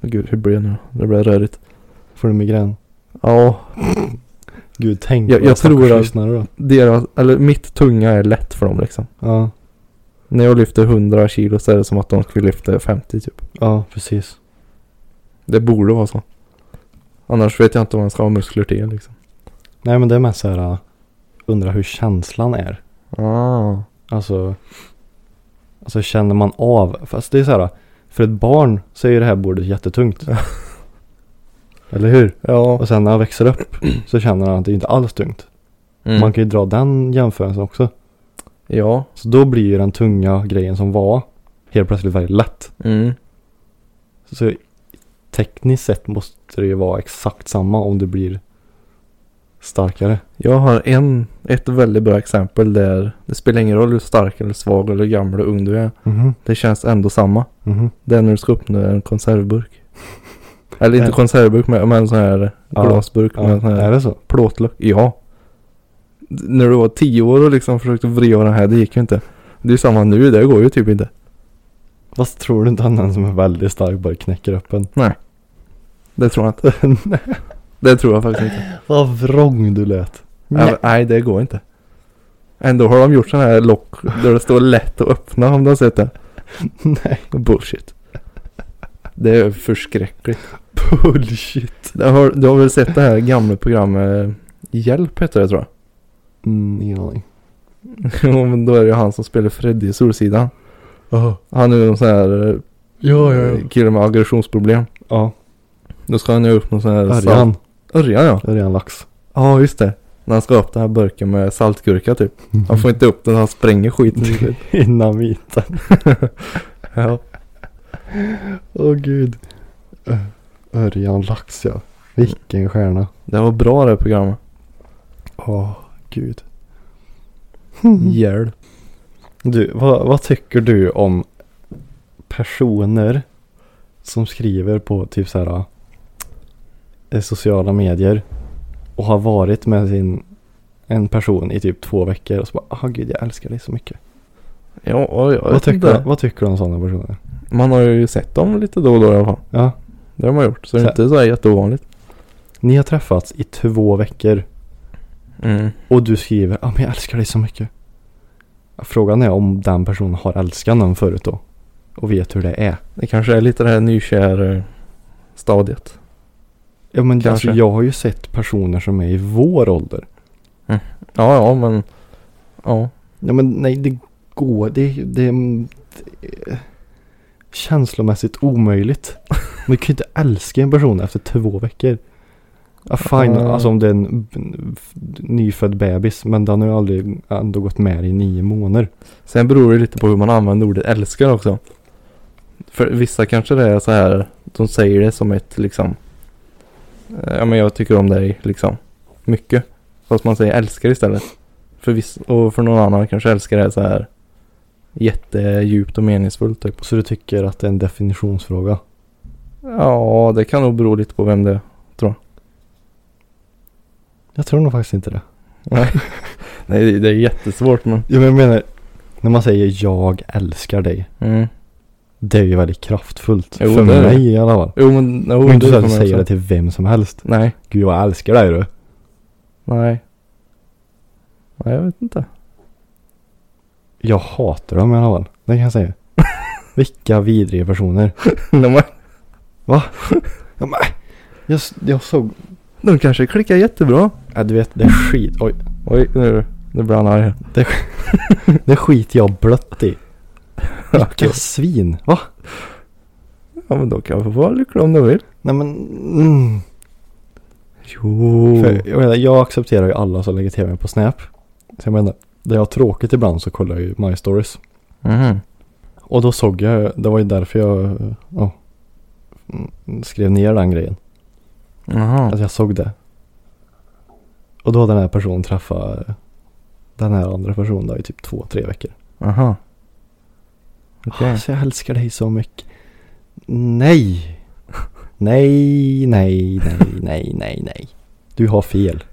C: gud, hur blir det nu? Det blir rörigt.
B: Får du migrän?
C: Ja,
B: Gud, tänk
C: Jag-
B: våra
C: jag tror
B: stackars
C: att-
B: lyssnare då.
C: deras, eller mitt tunga är lätt för dem liksom.
B: Ja,
C: När jag lyfter 100 kilo så är det som att de skulle lyfta 50 typ.
B: ja precis.
C: Det borde vara så. Annars vet jag inte om man ska ha muskler till liksom.
B: Nej men det är mest så här, uh, undra hur känslan är.
C: Ah.
B: Alltså, alltså känner man av, fast det är så här, uh, för ett barn så är ju det här bordet jättetungt. Eller hur?
C: Ja.
B: Och sen när han växer upp så känner han att det inte alls tungt.
C: Mm.
B: Man kan ju dra den jämförelsen också.
C: Ja.
B: Så då blir ju den tunga grejen som var helt plötsligt väldigt lätt.
C: Mm.
B: Så tekniskt sett måste det ju vara exakt samma om du blir starkare.
C: Jag har en, ett väldigt bra exempel där det spelar ingen roll hur stark eller svag eller gammal och ung du är.
B: Mhm.
C: Det känns ändå samma.
B: Mhm.
C: Det är när du ska öppna en konservburk. Eller inte
B: Ja.
C: konservburk men, men en sån här
B: Ja.
C: glasburk med en sån
B: Ja,
C: här
B: är det så?
C: plåtlock. Ja. D- När du var tio år och liksom försökte vrida den här, det gick ju inte. Det är ju samma nu, det går ju typ inte.
B: Fast tror du inte att någon som är väldigt stark bara knäcker upp en?
C: Nej. Det tror jag inte. Det tror jag faktiskt inte.
B: Vad vrång du lät.
C: Nej, men- nej det går inte. Ändå har de gjort sådana här lock där det står lätt att öppna om du har sett det.
B: Nej.
C: Bullshit. Det är förskräckligt.
B: Bullshit.
C: Du har, du har väl sett det här gamla programmet eh, Hjälp heter det tror jag.
B: Mm, ingen aning.
C: Jo men då är det ju han som spelar Freddy i Solsidan.
B: Ja,
C: Han är ju en sån här eh,
B: ja,
C: kille med aggressionsproblem.
B: Ja,
C: Då ska han ju upp någon sån här salt-
B: Örjan.
C: Örjan ja.
B: Örjan Lax.
C: Ja just det. När han ska upp den här burken med saltgurka typ.
B: Mm.
C: Han får inte upp den, han spränger skiten. i sig.
B: Dynamiten.
C: ja.
B: Åh gud. Ö- Örjan Lax ja. Vilken stjärna.
C: Det var bra det här programmet.
B: Åh gud. Mm. Hmm.
C: Hjälp.
B: Du, vad, vad tycker du om personer som skriver på typ så här eh, sociala medier och har varit med sin en person i typ två veckor och så bara, ah gud jag älskar dig så mycket.
C: Ja, ja, jag
B: Vad
C: vet
B: tycker, du,
C: inte.
B: vad tycker du om sådana personer?
C: Man har ju sett dem lite då och då i alla fall.
B: Ja,
C: Det har man gjort. Så det
B: Så-
C: är inte så här jätteovanligt.
B: ni har träffats i två veckor
C: Mm.
B: och du skriver, ah men jag älskar dig så mycket. Frågan är om den personen har älskat någon förut då och vet hur det är.
C: Det kanske är lite det här nykär eh, stadiet.
B: Ja men
C: Kanske.
B: alltså jag har ju sett personer som är i vår ålder
C: Ja, ja, men. Ja.
B: Ja men nej det går, det, det, det är känslomässigt omöjligt. Man kan ju inte älska en person efter två veckor. Ja, fine,
C: Ja.
B: alltså om det är en b- f- nyfödd bebis men den har ju aldrig ändå gått med dig i nio månader.
C: Sen beror det lite på hur man använder ordet älskar också. För vissa kanske det är så här. De säger det som ett liksom. eh, Ja, men jag tycker om dig liksom. Mycket. Fast man säger älskar istället. För viss, och för någon annan kanske älskar är så här. Jättedjupt och meningsfullt typ.
B: Så du tycker att det är en definitionsfråga?
C: Ja, det kan nog bero lite på vem det är.
B: Jag tror nog faktiskt inte det.
C: Nej, det- det är jättesvårt men.
B: Ja, men jag menar, när man säger jag älskar dig.
C: Mm.
B: Det är ju väldigt kraftfullt.
C: Jo,
B: för
C: det är det.
B: mig i alla fall.
C: Jo men, jo,
B: Och inte så att du
C: kommer jag
B: säger det
C: också.
B: till vem som helst.
C: Nej,
B: Gud jag älskar dig du.
C: nej. Nej, jag vet inte.
B: Jag hatar dem i alla fall. Det kan jag säga. Vilka vidriga personer.
C: De, har-
B: Jag, s- jag såg...
C: de kanske klickar jättebra.
B: Ja, du vet, det är skit. Oj.
C: Oj, nu, nu blir han arg här.
B: Det är skit jag blött i. Vilka svin. Va?
C: Ja men då kan jag få vara lycklig om du vill.
B: Nej men... Mm.
C: Jo.
B: För, jag, menar, jag accepterar ju alla som lägger tv på Snap. Så jag menar, det jag har tråkigt ibland så kollar jag ju My Stories.
C: Mhm.
B: Och då såg jag, det var ju därför jag ja, mm, skrev ner den grejen.
C: Jaha.
B: Alltså jag såg det. Och då hade den här personen träffat den här andra personen då i typ två, tre veckor.
C: Jaha. Okej.
B: Alltså jag älskar dig så mycket. Nej. Nej, nej, nej, nej, nej, nej. Du har fel.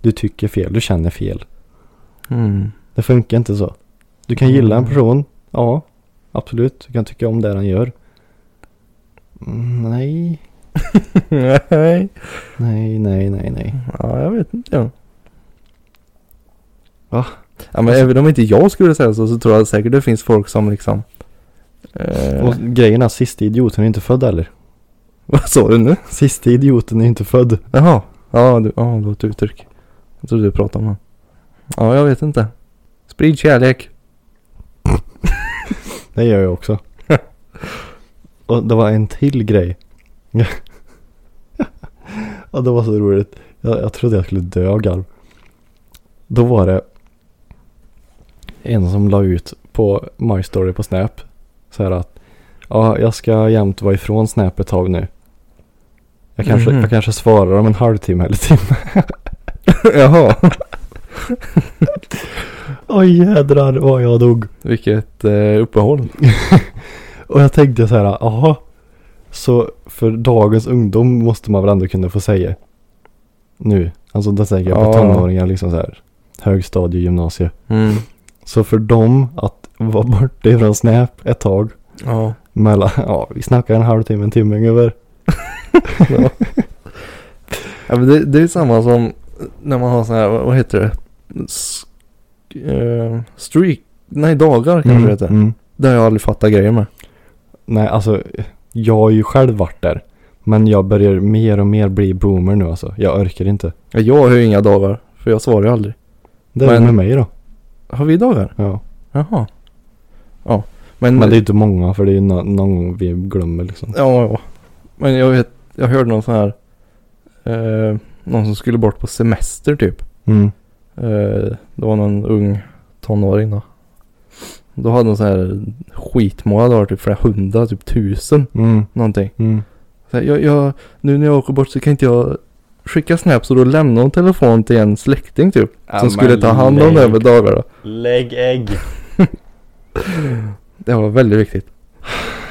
B: Du tycker fel, du känner fel.
C: Mm.
B: Det funkar inte så. Du kan gilla en
C: Mm.
B: person, ja, absolut. Du kan tycka om det den gör. Mm, Nej,
C: Nej.
B: nej, nej, nej, nej.
C: Ja, jag vet inte. Ja.
B: Va?
C: Ja, men även om inte jag skulle säga så, så tror jag säkert det finns folk som liksom... Eh,
B: Och grejen är, sista idioten är inte född heller.
C: vad sa du nu?
B: Sista idioten är inte född.
C: Jaha. Ja, du, ja, det var ett uttryck. Jag trodde du pratade om honom. Ja, jag vet inte. Sprid kärlek.
B: Det gör jag också. Och det var en till grej. ja, det var så roligt. Jag, jag trodde jag skulle dö av garv. Då var det en som la ut på My Story på Snap. Så här att ja, jag ska jämt vara ifrån Snap ett tag nu. Jag kanske,
C: Mhm.
B: jag kanske svarar om en halvtimme eller timme.
C: Jaha.
B: Oj jädrar vad jag dog.
C: Vilket eh, uppehåll.
B: Och jag tänkte så här, jaha. Så för dagens ungdom måste man väl ändå kunna få säga. Nu, alltså det tänker jag på
C: Ja.
B: tonåringar liksom så här. Högstadie, gymnasie.
C: Mm.
B: Så för dem att vara borta ifrån Snap ett tag.
C: Ja.
B: Mellan, ja vi snackar en halvtimme, en timme ungefär.
C: ja. ja, men det, det är samma som när man har sån här, vad heter det? S- eh, streak, nej dagar kanske det heter.
B: mm.
C: Det har jag aldrig fattat grejer med.
B: Nej, alltså jag har ju själv varit där. Men jag börjar mer och mer bli boomer nu alltså. Jag orkar inte.
C: Ja, Jag har ju inga dagar, för jag svarar ju aldrig.
B: Det är
C: Men-
B: med mig då.
C: Har vi dagar?
B: Ja.
C: Jaha. Ja, men...
B: Men det är ju inte många för det är ju nå- någon gång vi glömmer liksom.
C: Ja, ja. Men jag vet, jag hörde någon sån här, eh, någon som skulle bort på semester typ.
B: Mm.
C: Eh, det var någon ung tonåring då. Då hade de så här skitmånga dagar, typ flera hundra, typ tusen
B: Mm.
C: någonting.
B: Mm.
C: Så här, jag, jag, nu när jag åker bort så kan inte jag skicka snaps så då lämnar hon telefon till en släkting typ.
B: Ja,
C: som skulle
B: men
C: ta hand om det över dagar då.
B: Lägg ägg.
C: Det var väldigt viktigt.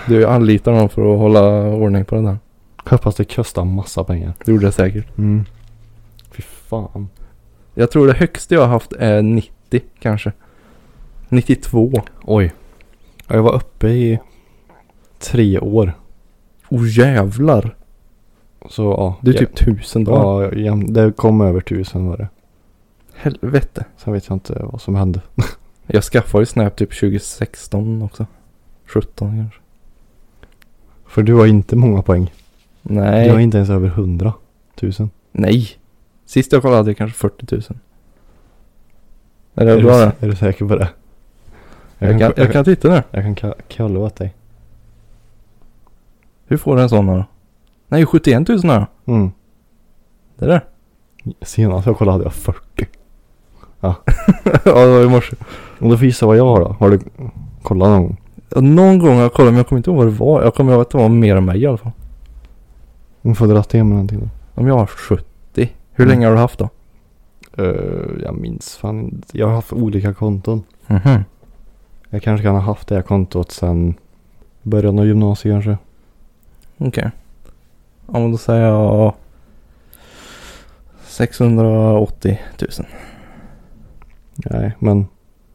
C: Du anlitar någon för att hålla ordning på den där.
B: Hoppas det kostar massa pengar.
C: Det gjorde jag säkert.
B: Mm. Fy fan.
C: Jag tror det högsta jag har haft är 90 kanske. 92.
B: Oj. Ja, Jag var uppe i tre år.
C: Oh jävlar.
B: Så ja.
C: Det är
B: jag-
C: typ tusen dagar.
B: Ja, jäm- det kom över tusen var det.
C: Helvete.
B: Sen vet jag inte vad som hände.
C: Jag skaffade ju Snap typ 2016 också. 17 kanske.
B: För du har inte många poäng.
C: Nej.
B: Du har inte ens över hundra tusen.
C: Nej. Sist jag kollade hade jag kanske 40 000. Är det
B: Är, du,
C: bra det?
B: är du säker på det? Jag,
C: Jag kan, jag kan titta nu.
B: jag kan ka- kolla åt dig.
C: Hur får du en sån här då? Nej, 71 000 här.
B: Mm.
C: Det där.
B: Senast jag kollade hade jag 40.
C: ja, det var i morse.
B: Och då får jag gissa vad jag har då. Har du kollat någon gång?
C: Ja, Någon gång har jag kollat men jag kommer inte ihåg vad det var. Jag kommer ihåg att det var mer än mig i alla fall.
B: Du får dra till med någonting då.
C: Om jag har 70. Hur
B: Mm.
C: länge har du haft då?
B: Eh, jag minns fan inte. Jag har haft olika konton.
C: Mhm.
B: Jag kanske kan ha haft det här kontot sen början av gymnasiet kanske.
C: Okej. Ja men då säger jag 680 000.
B: Nej, men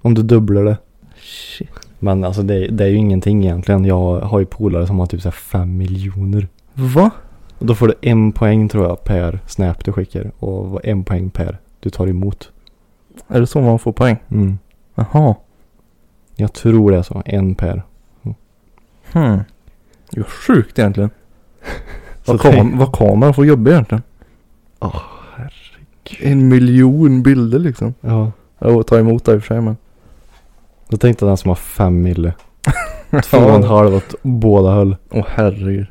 B: om du dubblar det.
C: Shit.
B: Men alltså det, det är ju ingenting egentligen. Jag har ju polare som har typ så här 5 miljoner.
C: Va?
B: Och då får du en poäng tror jag per snap du skickar. Och en poäng per du tar emot.
C: Är det så man får poäng?
B: Mm.
C: Jaha.
B: Jag tror det är så. En per.
C: Hmm. Det är sjukt egentligen. Vad,
B: Så tänk-
C: kam- vad kameran får jobba egentligen?
B: Åh,
C: herregud. En miljon bilder liksom.
B: Ja.
C: Ja, och ta emot det i och för sig men.
B: Då tänkte jag den som har fem mille. Två och en halv åt båda höll.
C: Åh herregud.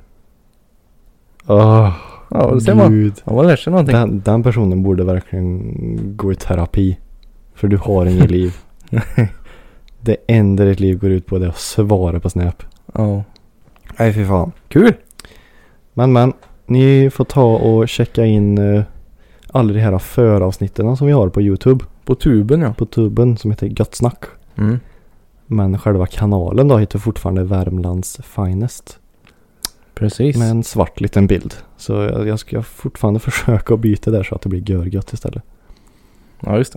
B: Oh,
C: Ja det ser man.
B: Gud.
C: Ja man lär sig någonting.
B: Den, den personen borde verkligen gå i terapi. För du har inget liv. Det enda ditt liv går ut på det är att svara på Snap.
C: Ja.
B: Nej fy fan.
C: Kul.
B: Men men, ni får ta och checka in eh, alla de här föravsnitten som vi har på YouTube.
C: På tuben ja.
B: På tuben som heter Gött Snack.
C: Mm.
B: Men själva kanalen då heter fortfarande Värmlands Finest.
C: Precis.
B: Med en svart liten bild. Så jag, jag ska fortfarande försöka att byta där så att det blir görgött istället.
C: Ja just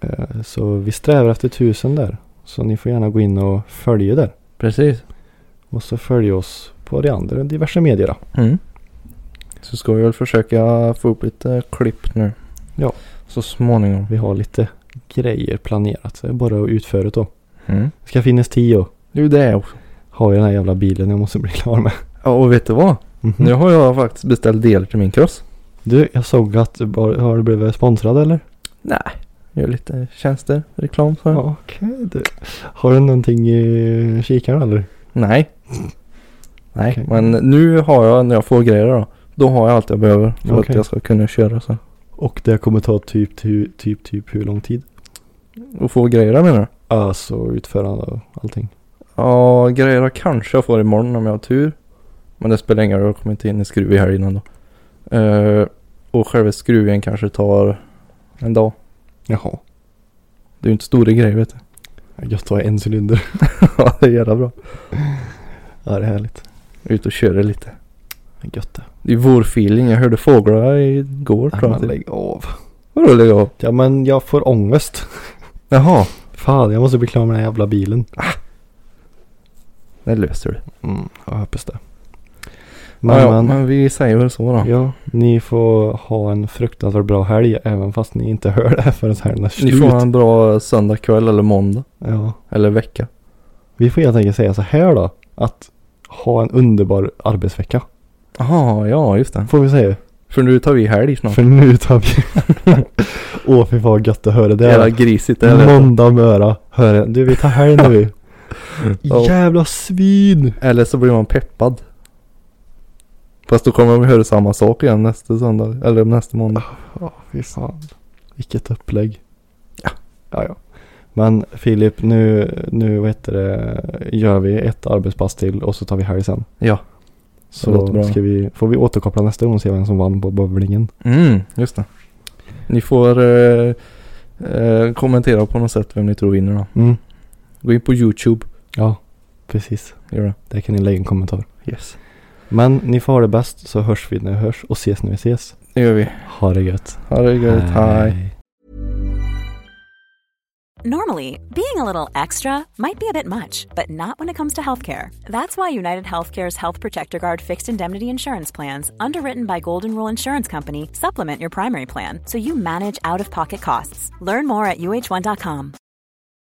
C: det.
B: Eh, Så vi strävar efter tusen där. Så ni får gärna gå in och följa där.
C: Precis.
B: Och så följa oss på de andra diverse medierna.
C: Mm. Så ska vi väl försöka få upp lite klipp nu.
B: Ja.
C: Så småningom.
B: Vi har lite grejer planerat. Så det är bara att utföra det då.
C: Mm.
B: Det ska finnas tio.
C: Det är ju det också.
B: Har ju den här jävla bilen jag måste bli klar med. Mhm.
C: Ja och vet du vad? Nu har jag faktiskt beställt delar till min cross.
B: Du, jag såg att du bara, har du blivit sponsrad eller?
C: Nej. Gör lite tjänster, reklam för. Ja.
B: Okej du. Har du någonting i kikaren eller?
C: Nej. Nej
B: Okej.
C: men nu har jag, när jag får grejer då. Då har jag allt jag behöver för
B: Okej.
C: att jag ska kunna köra så.
B: Och det kommer ta typ, typ, typ, typ hur lång tid?
C: Och få grejer menar du?
B: Alltså utförande och allting.
C: Ja, grejer kanske jag får imorgon om jag har tur. Men det spelar ingen roll, jag kommer inte in i skruv i helgen ändå. Eh, och själva skruven kanske tar en dag.
B: Jaha.
C: Det är ju inte stora grejer vet du.
B: Gött att ha en cylinder.
C: ja, det är jävla bra.
B: Ja, det är härligt.
C: Ut och köra lite.
B: Gött det.
C: Det är vårfeeling. Jag hörde fåglar igår tror jag. typ.
B: lägg av.
C: Vadå lägg av?
B: Ja, men jag får ångest.
C: Jaha,
B: Fan, jag måste bli klar med den här jävla bilen.
C: det löser du.
B: Mm, jag hoppas det. Men,
C: ja, ja,
B: men,
C: men vi säger väl så då.
B: ja, ni får ha en fruktansvärt bra helg även fast ni inte hör det här förrän helgen är
C: Ni
B: slut.
C: får ha en bra söndag kväll eller måndag.
B: Ja.
C: Eller vecka.
B: Vi får helt enkelt säga så här då. Att ha en underbar arbetsvecka.
C: Jaha, ja just det.
B: Får vi säga.
C: För nu tar vi helg snart.
B: För nu tar vi... Åh fy fan vad gött att höra det.
C: Jävla grisigt det är.
B: Måndag möra. Hör det. Du vi tar helg nu vi.
C: Ja.
B: Jävla svin.
C: Eller så blir man peppad. Fast då kommer vi höra samma sak igen nästa söndag. Eller nästa måndag.
B: Ja fy fan. Vilket upplägg. Ja. ja ja. Men Filip nu, nu vad heter det, gör vi ett arbetspass till och så tar vi helg sen.
C: Ja. låter
B: Så
C: bra.
B: ska vi, får vi återkoppla nästa gång och se vem som vann på bowlingen.
C: Mm, just det. Ni får eh, eh, kommentera på något sätt vem ni tror vinner då.
B: Mm.
C: Gå in på YouTube.
B: Ja, precis.
C: Gör det.
B: Där kan ni lägga en kommentar.
C: Yes.
B: Men ni får ha det bäst så hörs vi när vi hörs och ses när vi ses.
C: Det gör vi.
B: Ha det gött.
C: Ha det gött. Hej.
E: Normally, being a little extra might be a bit much, but not when it comes to healthcare. That's why United Healthcare's Health Protector Guard fixed indemnity insurance plans, underwritten by Golden Rule Insurance Company, supplement your primary plan so you manage out of pocket costs. Learn more at uh1.com.